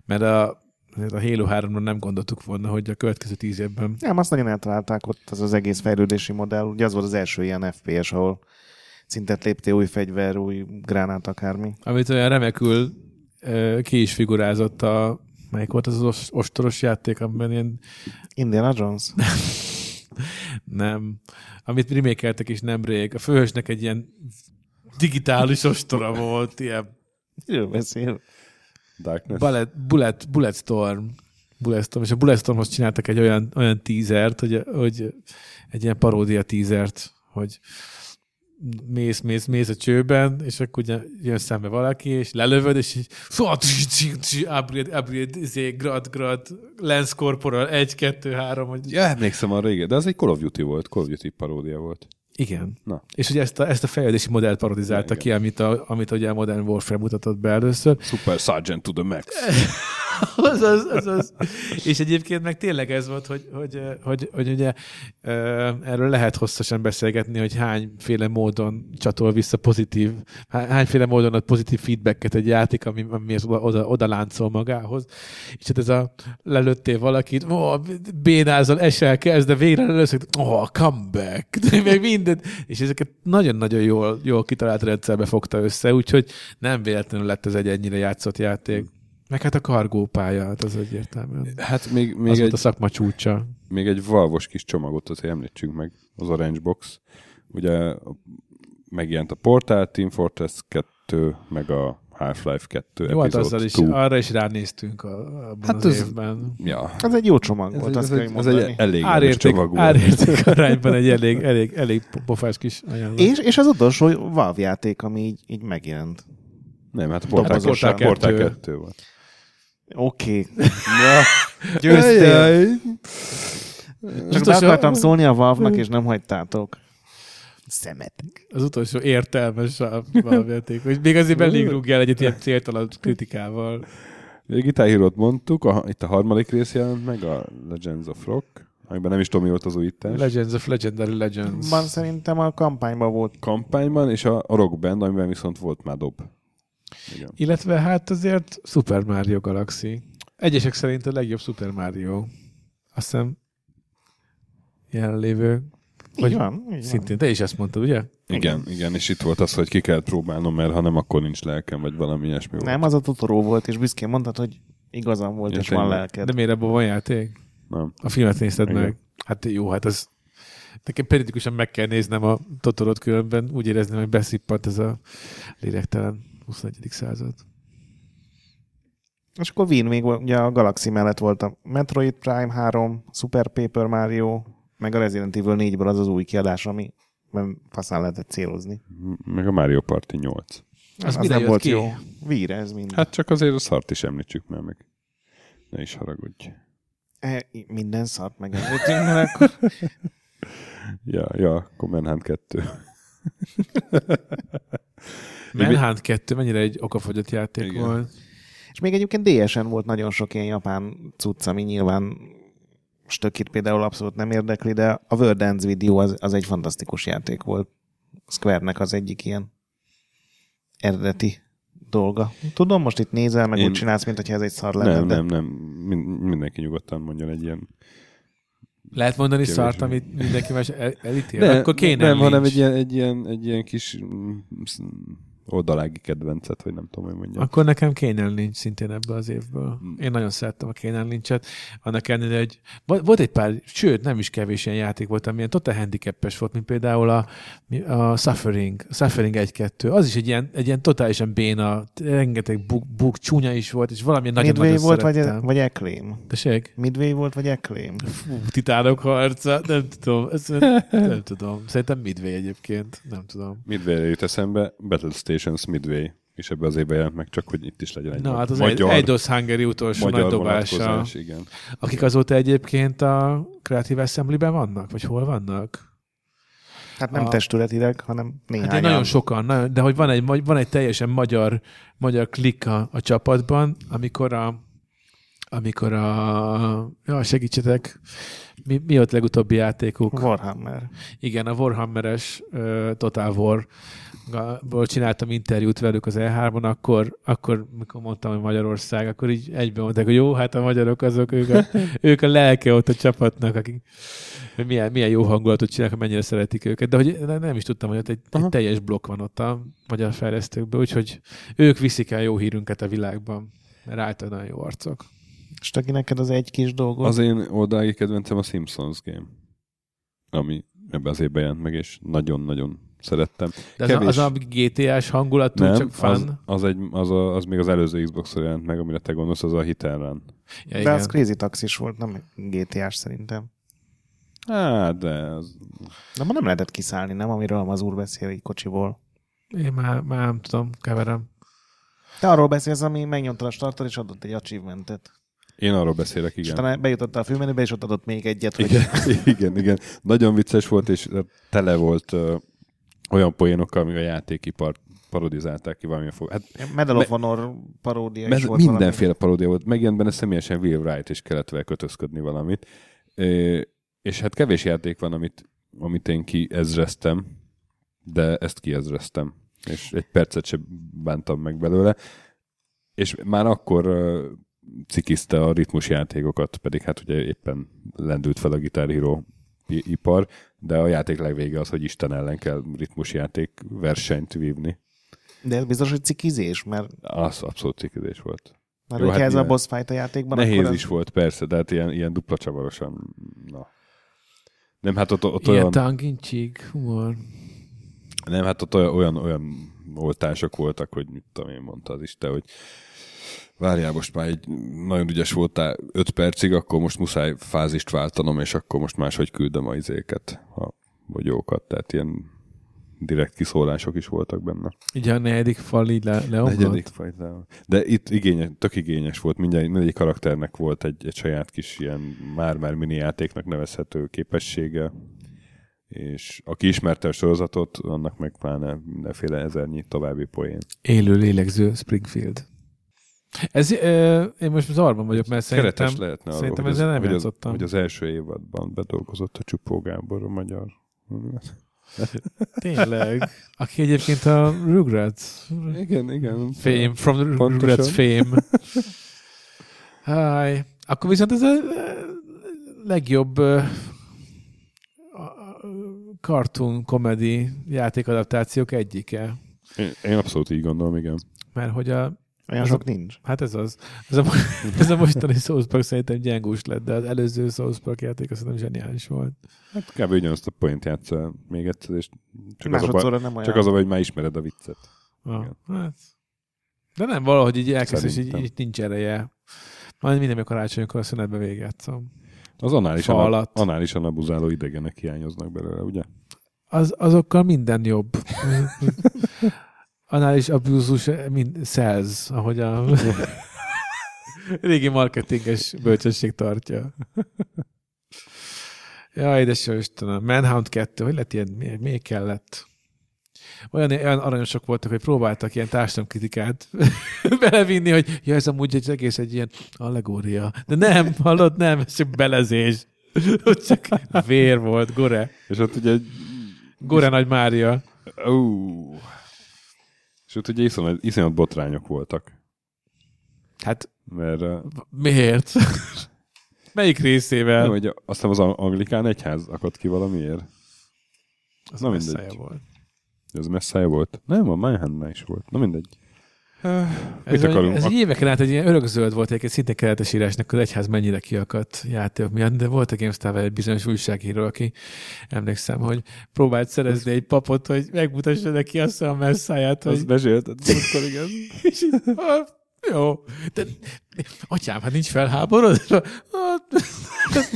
C: mert a, azért a Halo 3-ról nem gondoltuk volna, hogy a következő tíz évben
B: Nem, azt nagyon eltalálták ott az az egész fejlődési modell. Ugye az volt az első ilyen FPS, ahol szintet léptél új fegyver, új gránát, akármi.
C: amit olyan remekül ö, ki is figurázott a melyik volt az az os- ostoros játék, amiben ilyen
B: Indiana Jones?
C: Nem. Amit remékeltek is nemrég. A főhősnek egy ilyen digitális ostora volt, ilyen
B: Miről beszél?
A: Darkness.
C: Bullet, bullet, Bulletstorm. Bulletstorm. És a Bulletstormhoz csináltak egy olyan, olyan tízert, hogy, hogy egy ilyen paródia tízert, hogy mész, mész, mész a csőben, és akkor ugye jön szembe valaki, és lelövöd, és így szóval fua, tss, tss, tss, upgrade, upgrade, izé, grad, grad, lens corporal, egy, kettő, három, hogy
A: Ja, emlékszem arra, igen, de az egy Call of Duty volt, Call of Duty paródia volt.
C: Igen.
A: Na.
C: És ugye ezt a, ezt a fejlődési modellt parodizálta
A: Igen.
C: ki, amit a, amit ugye a Modern Warfare mutatott be először.
A: Super Sergeant to the Max.
C: Eh. az, az, az, az. És egyébként meg tényleg ez volt, hogy, hogy, hogy, hogy ugye ö, erről lehet hosszasan beszélgetni, hogy hányféle módon csatol vissza pozitív, há- hányféle módon ad pozitív feedbacket egy játék, ami, ami az oda, oda, oda láncol magához. És hát ez a lelőttél valakit, ó, bénázol, esel, kezd, de végre lelőszök, ó, comeback, de még mindent. És ezeket nagyon-nagyon jól, jól kitalált rendszerbe fogta össze, úgyhogy nem véletlenül lett ez egy ennyire játszott játék. Meg hát a kargópálya, hát az egyértelműen.
A: Hát Hmm. még,
C: Még
A: még
C: az egy...
A: egy...
C: volt a szakma csúcsa.
A: még egy valvos kis csomagot azért említsünk meg, az Orange Box. Ugye megjelent a Portal, Team Fortress 2, meg a Half-Life 2
C: Jó, hát
A: Episode
C: azzal is,
A: 2.
C: arra is ránéztünk a, abban
A: Hát
C: hát az,
A: ez-
C: az évben.
A: Ja.
B: Ez egy jó csomag
A: Ez,
B: volt,
A: egy,
B: azt
A: ez,
B: kell
A: egy,
B: hogy
A: ez
B: mondani.
A: egy elég árért,
C: Árérték,
A: csomag volt.
C: árérték arányban egy elég, elég, elég pofás kis ajánlat.
B: És, és az utolsó Valve játék, ami így, így megjelent.
A: Nem, hát a Portal,
B: Dobozosan.
A: Portal, 2. Portal 2.
C: Portal
A: volt.
B: Oké.
A: Ja.
B: Győztél. Csak be
C: Biztos, Hm.
B: akartam
C: a-
B: szólni a Valve-nak, és nem hagytátok. Szemetek.
C: Az utolsó értelmes a valamijáték, hogy még azért belég rúgjál egyet ilyen céltalan kritikával.
A: Ugye Guitar Hero-t mondtuk, a, itt a harmadik rész jelent meg, a Legends of Rock, amiben nem is tudom, mi volt az újítás.
C: Legends of Legendary Legends.
B: Van szerintem a kampányban volt.
A: kampányban, és a, a Rock Band, amiben viszont volt már dob. Igen.
C: Illetve hát azért Super Mario Galaxy. Egyesek szerint a legjobb Super Mario. Azt hiszem jelenlévő.
B: Így van, így van.
C: Szintén te is ezt mondtad, ugye?
A: Igen, igen, és itt volt az, hogy ki kell próbálnom, mert ha nem, akkor nincs lelkem, vagy valami ilyesmi volt.
B: Nem, az a Totoro volt, és büszkén mondtad, hogy igazam volt,
A: Ja,
B: és van
A: tényleg.
B: lelked.
C: De miért abban van játék?
A: Nem.
C: A filmet nézted
A: Igen.
C: meg. Hát jó, hát az nekem periódikusan meg kell néznem a Totorot különben, úgy érezném, hogy beszippant ez a lélektelen 21. század.
B: És akkor Win még volt, ugye a Galaxy mellett volt a Metroid Prime 3, Super Paper Mario, meg a Resident Evil 4-ből az az új kiadás, ami nem faszán lehetett célozni.
A: M- Meg a Mario Party 8.
C: Az
B: az
C: mire
B: nem
C: jött
B: volt
C: ki?
B: jó. Vír ez mind. Hát,
A: Hát csak azért a szart is említsük már meg. Ne is haragudj.
B: e, minden szart megemlítünk, mert akkor
A: Ja, ja, Command Hand 2.
C: Manhunt 2 mennyire egy okafogyott játék
A: Igen.
C: Igen. volt.
B: És még egyébként DS-en volt nagyon sok ilyen japán cucc, ami nyilván stökit például abszolút nem érdekli, de a World Ends Video az, az egy fantasztikus játék volt. Square-nek az egyik ilyen eredeti dolga. Tudom, most itt nézel, meg
A: Én-
B: Én... úgy csinálsz, mint hogyha ez egy szar lenne,
A: Nem,
B: de
A: nem, nem. Min- mindenki nyugodtan mondjon egy ilyen.
C: Lehet mondani
A: Kevésbé.
C: szart, amit mindenki más el, elítél? Ne, Akkor kéne
A: nem, hanem
C: nincs.
A: egy ilyen, egy, ilyen, egy ilyen kis mm, sz- oldalági kedvencet, vagy nem tudom, hogy mondjam.
C: Akkor nekem Kénel nincs szintén ebből az évből. Én nagyon szerettem a Kénel nincset. Annak ellenére egy, vo- volt egy pár, sőt, nem is kevés ilyen játék volt, ami ilyen totál handicapes volt, mint például a, mi- a Suffering, a Suffering 1-2. Az is egy ilyen, egy ilyen totálisan béna, rengeteg buk, buk csúnya is volt, és valami nagyon
B: Midway
C: nagyon
B: volt, vagy,
C: szerettem.
B: vagy Acclaim?
C: Tessék?
B: Midway volt, vagy Acclaim?
C: Fú, titánok harca, nem tudom. Ezt, nem tudom. Szerintem Midway egyébként, nem tudom.
A: Midway jut eszembe, Battle Stations Midway, és ebbe az évben jelent meg, csak hogy itt is legyen egy
C: Na, hát az
A: magyar,
C: magyar, Eidos Hungary utolsó nagy
A: magyar
C: dobása.
A: vonatkozás, igen.
C: Akik azóta egyébként a Creative Assembly-ben vannak? Vagy hol vannak?
B: Hát nem
C: A-
B: testületileg, hanem néhányan.
C: Hát de nagyon sokan, nagyon, de hogy van egy, magy- van egy teljesen magyar, magyar klika a csapatban, amikor a amikor a... Ja, segítsetek! Mi, mi ott legutóbbi játékuk?
B: Warhammer.
C: Igen, a Warhammeres uh, Total War ból csináltam interjút velük az E3-on, akkor, akkor mikor mondtam, hogy Magyarország, akkor így egyben mondták, hogy jó, hát a magyarok azok, ők a, ők a lelke ott a csapatnak, akik hogy milyen, milyen jó hangulatot csinálnak, mennyire szeretik őket, de hogy ne- nem is tudtam, hogy ott egy, egy
A: Aha.
C: teljes blokk van ott a magyar fejlesztőkből, úgyhogy ők viszik el jó hírünket a világban, mert általában nagyon jó arcok.
B: Stöki, neked az egy kis dolgod?
A: Az én oldalági kedvencem a Simpsons game, ami ebbe az évben jelent meg, és nagyon-nagyon szerettem.
C: De az, a, az a GTA-s hangulatú,
A: nem,
C: csak fun.
A: az, az, egy, az, a, az még az előző xbox jelent meg, amire te gondolsz, az a hitelrán.
C: ja,
B: De
C: igen.
B: az Crazy Taxis volt, nem GTA-s szerintem.
A: Hát, de az...
B: De ma nem lehetett kiszállni, nem? Amiről az úr beszél egy kocsiból.
C: Én már, már nem tudom, keverem.
B: Te arról beszélsz, ami megnyomta a startot, és adott egy achievementet.
A: én arról beszélek,
B: És
A: igen.
B: talán bejutotta a főmenübe, és ott adott még egyet, hogy
A: Igen, igen, igen. Nagyon vicces volt, és tele volt ö, olyan poénokkal, ami a játékipart parodizálták ki valamilyen fog. Hát
B: Medal of Honor paródia is
A: ez
B: volt valami.
A: mindenféle paródia volt. Megjelent benne személyesen Will Wright, és kellett vele kötözködni valamit. Ö, és hát kevés játék van, amit, amit én kiezreztem, de ezt kiezreztem. És egy percet sem bántam meg belőle. És már akkor ö, cikizte a ritmusjátékokat, pedig hát ugye éppen lendült fel a Guitar Hero i- ipar, de a játék legvége az, hogy Isten ellen kell ritmusjáték versenyt vívni.
B: De ez biztos, hogy cikizés, mert,
A: Az abszolút cikizés volt.
B: mert
A: Jó,
B: hogyha
A: hát
B: ez
A: ilyen-
B: a boss fight a játékban,
A: Nehéz
B: akkor
A: is volt, persze, de hát ilyen, ilyen dupla csavarosan, na. Nem, hát ott, ott
C: Ilyen
A: olyan,
C: tongue in cheek humor.
A: nem, hát ott olyan, olyan, olyan oltások voltak, hogy mit tudom én, mondta az Isten, hogy várjál, most már egy nagyon ügyes voltál 5 percig, akkor most muszáj fázist váltanom, és akkor most máshogy küldöm a izéket, a bogyókat, tehát ilyen direkt kiszólások is voltak benne.
C: Ugye a negyedik fal így le, leomlott.
A: Negyedik fajtában. De itt igényes, tök igényes volt, mindjárt mindegyik karakternek volt egy, egy saját kis ilyen már-már mini játéknak nevezhető képessége, és aki ismerte a sorozatot, annak meg pláne mindenféle ezernyi további poén.
C: Élő lélegző Springfield. Ez, ö, én most zavarban vagyok, mert szerintem...
A: Keretes lehetne arról,
C: szerintem
A: hogy, az,
C: ezzel nem
A: hogy, az,
C: játszottam.
A: hogy az első évadban bedolgozott a Csupó Gábor, a magyar.
C: Tényleg. Aki egyébként a Rugrats
A: Igen, igen.
C: fame, from the
A: Pontosan.
C: Rugrats fame. Háj. Akkor viszont ez a ö, legjobb ö, a- a- cartoon comedy játékadaptációk egyike.
A: Én, én abszolút így gondolom, igen.
C: Mert hogy a
B: olyan
C: az
B: sok nincs.
C: Hát ez az. Ez a, ez a mostani South Park szerintem gyengús lett, de az előző South Park játék azt szerintem zseniális volt.
A: Hát kb. ugyanazt a point játszol még egyszer, és csak az, a baj,
B: Másodszorra nem olyan.
A: csak az a baj, hogy már ismered a viccet.
C: Ah,
A: Igen.
C: hát. De nem, valahogy így elkezd, és így,
A: Szerintem.
C: így, nincs ereje. Majd minden karácsonykor a szünetbe végigjátszom.
A: Az anális,
C: Fa
A: anab,
C: alatt.
A: análisan abuzáló idegenek hiányoznak belőle, ugye?
C: Az, azokkal minden jobb. Annál is abúzus mind sales, ahogy a régi marketinges bölcsesség tartja. Jaj, de jó Istenem. Manhunt 2, hogy lett ilyen, mi, mi kellett? Olyan, olyan aranyosak voltak, hogy próbáltak ilyen társadalomkritikát belevinni, hogy ja, ez amúgy egy egész egy ilyen allegória. De nem, hallod, nem, ez csak belezés. Ott csak vér volt, gore.
A: És ott ugye egy...
C: Gore Nagy Mária.
A: Ó. És ott ugye iszonyat, iszonyat botrányok voltak.
C: Hát
A: Mert eh,
C: miért? Melyik
A: nem,
C: részével?
A: hogy aztán az anglikán egyház akadt ki valamiért.
C: Az
A: na
C: messze
A: mindegy.
C: volt.
A: Ez messzája volt. Nem, a Manhattan is volt. Na mindegy.
C: Ez,
A: akarunk?
C: akarunk, ez
A: Ak-
C: egy éveken át egy ilyen örökzöld volt, egyébként szinte keretes írásnak az egyház mennyire kiakadt játékok miatt, de volt a gamestar egy bizonyos újságíró, aki emlékszem, hogy próbált szerezni egy papot, hogy megmutassa neki azt a messzáját,
A: Az
C: hogy
A: mesélt, akkor igen.
C: és így, "Ah, jó, de atyám, hát nincs felháborodva. Hát,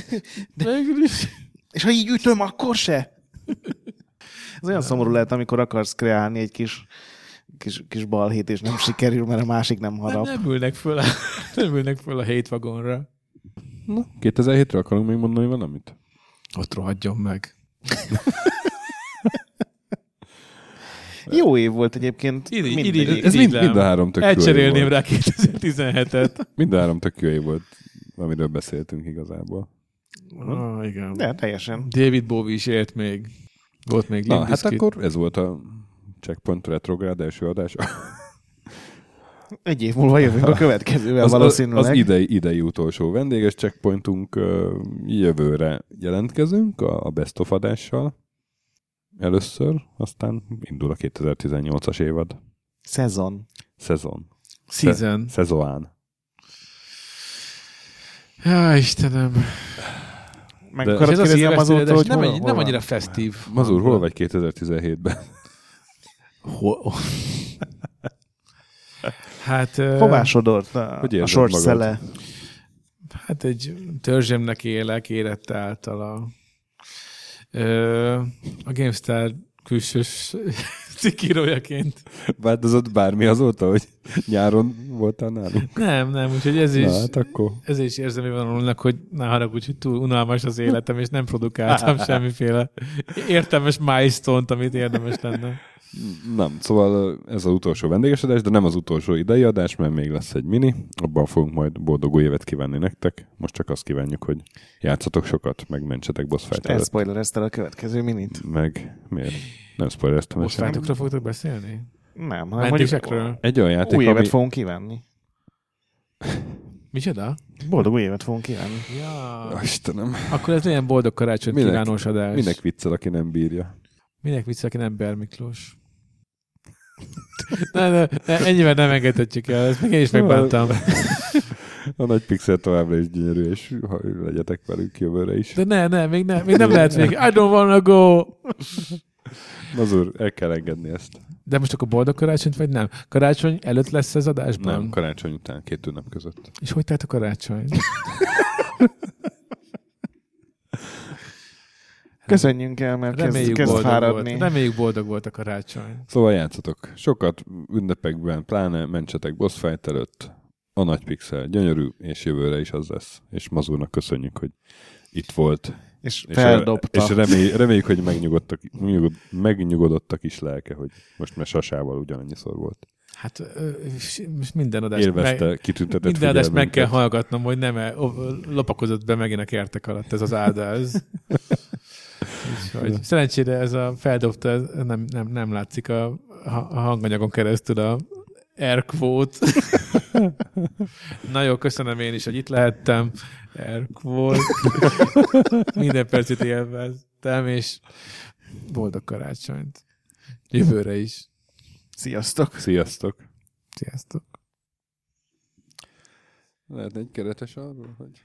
C: végül is.
B: És ha így ütöm, akkor se? Ez olyan szomorú lehet, amikor akarsz kreálni egy kis, kis, kis balhét, és nem sikerül, mert a másik nem
C: Nem,
B: harap.
C: nem ülnek föl a, nem ülnek föl a hétvagonra.
A: 2007-ről akarunk még mondani valamit?
C: Ott rohadjon meg.
B: Jó év volt egyébként.
C: Iri-
B: Mindegy.
C: iri-
A: Ez mind,
C: Így nem.
A: mind a három tök jó év
C: Elcserélném
A: volt.
C: rá 2017-et.
A: Mind a három tök jó év volt, amiről beszéltünk igazából.
C: Ah, igen.
B: De teljesen.
C: David Bowie is élt még. Volt még
A: Na,
C: Limp
A: hát
C: Bizkit.
A: akkor ez volt a Checkpoint Retrograd első adás.
B: Egy év múlva jövünk a következővel
A: az,
B: valószínűleg.
A: Az, az idei, idei utolsó vendéges checkpointunk ö, jövőre jelentkezünk a, a Best of adással. Először, aztán indul a 2018-as évad.
B: Szezon.
A: Szezon.
C: Season.
A: Szezoán.
C: Ja, Istenem.
B: Meg
A: De-
B: akarod
C: És ez az
B: kérdezni
C: szilveszter, de
B: Amazótól, hogy
C: nem,
B: hol,
C: egy-
B: hol
C: nem
B: van?
C: annyira festív.
A: Mazur, hol vagy 2017-ben?
C: Hol? hát, ö,
B: Hová sodort a,
A: Hogy
B: a
A: érzed
B: sors
A: magad?
B: szele?
C: hát egy törzsemnek élek, érette általa. Ö, a GameStar külsős cikírójaként.
A: Változott bármi azóta, hogy nyáron voltál nálunk?
C: Nem, nem, úgyhogy ez is,
A: Na, hát akkor.
C: ezért is érzem évvonalulnak, hogy ne haragudj, hogy túl unalmas az életem, és nem produkáltam semmiféle értelmes milestone-t, amit érdemes lenne.
A: Nem, szóval ö, ez az utolsó vendégesedés, de nem az utolsó idei adás, mert még lesz egy mini, abban fogunk majd boldog új évet kívánni nektek. Most csak azt kívánjuk, hogy játszatok sokat, meg mentsetek boss fight
B: Te
A: előtt.
B: spoilerezted a következő minit?
A: Meg miért? Nem spoilereztem
C: Most
A: ezt.
C: fájtokra fogtok beszélni?
B: Nem, hanem hogy
C: Mentésekről?
A: Egy olyan játék,
B: új
A: ami...
B: évet fogunk kívánni.
C: Micsoda?
B: Boldog új évet fogunk kívánni.
C: Ja.
A: Ó, Istenem,
C: Akkor ez milyen boldog karácsony
A: Minek-
C: kívános adás.
A: minek viccel, aki nem bírja.
C: Minek vicc, aki nem Ber Miklós? ne, ne, ne, ennyivel nem engedhetjük el, ezt még én is megbántam.
A: A nagy pixel továbbra is gyönyörű, és ha legyetek velünk jövőre is.
C: De ne, ne, még, ne, még nem lehet még. I don't wanna go!
A: Mazur, el kell engedni ezt.
C: De most akkor boldog karácsonyt, vagy nem? Karácsony előtt lesz az adásban?
A: Nem, karácsony után, két ünnep között.
C: És hogy telt a karácsony?
B: Köszönjünk el, mert kezd,
C: Reméljük,
B: kezd
C: boldog volt.
B: fáradni.
C: Reméljük boldog volt a karácsony.
A: Szóval játszatok sokat ünnepekben, pláne mentsetek boss fight előtt. A nagy pixel gyönyörű, és jövőre is az lesz. És Mazurnak köszönjük, hogy itt volt.
B: És
A: És,
B: feldobta.
A: és remély, reméljük, hogy megnyugodtak, megnyugod, megnyugodottak is lelke, hogy most már sasával ugyanannyiszor volt.
C: Hát ö, s- most minden adást
A: Élvezte,
C: meg,
A: kitüntetett
C: minden adást meg kell
A: figyelmünket.
C: hallgatnom, hogy nem el- o- lopakozott be megint a kertek alatt ez az áldáz. Úgyhogy, szerencsére ez a feldobta, ez nem, nem, nem látszik a, a hanganyagon keresztül a air quote. Na jó, köszönöm én is, hogy itt lehettem. Air quote. Minden percet élveztem, és boldog karácsonyt. Jövőre is.
B: Sziasztok!
A: Sziasztok!
C: Sziasztok.
A: Lehet egy keretes arról, hogy...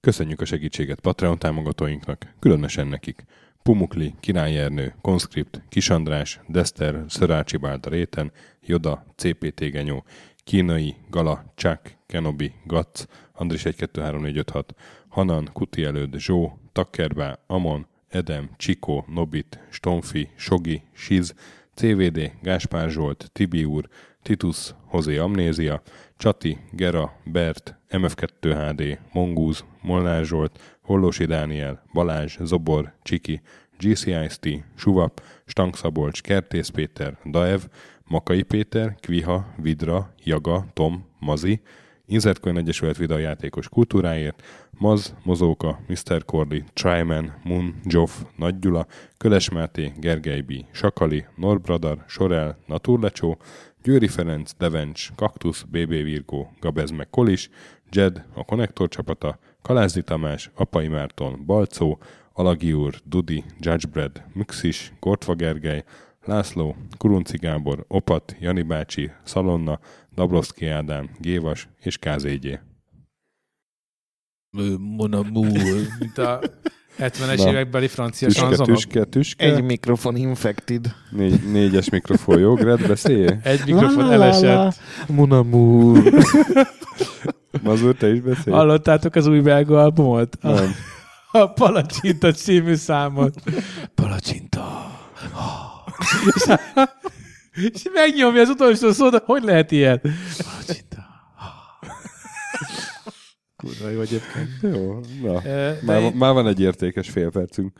A: Köszönjük a segítséget Patreon támogatóinknak, különösen nekik. Pumukli, Király Ernő, Conscript, Kisandrás, Dester, Szörácsi Bálda Réten, Joda, CPT Genyó, Kínai, Gala, Csák, Kenobi, Gac, Andris 123456, Hanan, Kuti Előd, Zsó, Takkerbá, Amon, Edem, Csikó, Nobit, Stonfi, Sogi, Siz, CVD, Gáspár Zsolt, Tibi úr, Titus, Hozé Amnézia, Csati, Gera, Bert, MF2HD, Mongúz, Molnár Zsolt, Hollósi Dániel, Balázs, Zobor, Csiki, GCIST, Suvap, Stangszabolcs, Kertész Péter, Daev, Makai Péter, Kviha, Vidra, Jaga, Tom, Mazi, Inzertkönyv Egyesület videójátékos kultúráért, Maz, Mozóka, Mr. Cordy, Tryman, Moon, Joff, Nagy Gyula, Köles Máté, Gergely B., Sakali, Norbradar, Sorel, Naturlecsó, Győri Ferenc, Devencs, Kaktusz, BB Virgó, Gabez meg Kolis, Jed, a Konnektor csapata, Kalázdi Tamás, Apai Márton, Balcó, Alagi úr, Dudi, Judgebred, Müxis, Gortva Gergely, László, Kurunci Gábor, Opat, Jani bácsi, Szalonna, Dabrowski Ádám, Gévas és KZG.
D: Ö, Mon amour.
C: Mint a 70-es
A: Na.
C: évekbeli francia
A: Tüske,
C: sanzonok.
A: tüske, tüske.
B: Egy mikrofon infected.
A: Négy, négyes mikrofon, jó? Gred, beszéljél?
C: Egy mikrofon elesett.
D: Mon amour.
A: Mazur, te is beszélj?
C: Hallottátok az új belga albumot? A,
A: Nem.
C: a Palacsinta című számot.
D: Palacsinta.
C: És megnyomja az utolsó szót, de hogy lehet ilyen? Palacsinta. Kurva jó egyébként.
A: Jó, na.
C: Ö, De
A: Már,
C: én-
A: már van egy értékes fél percünk.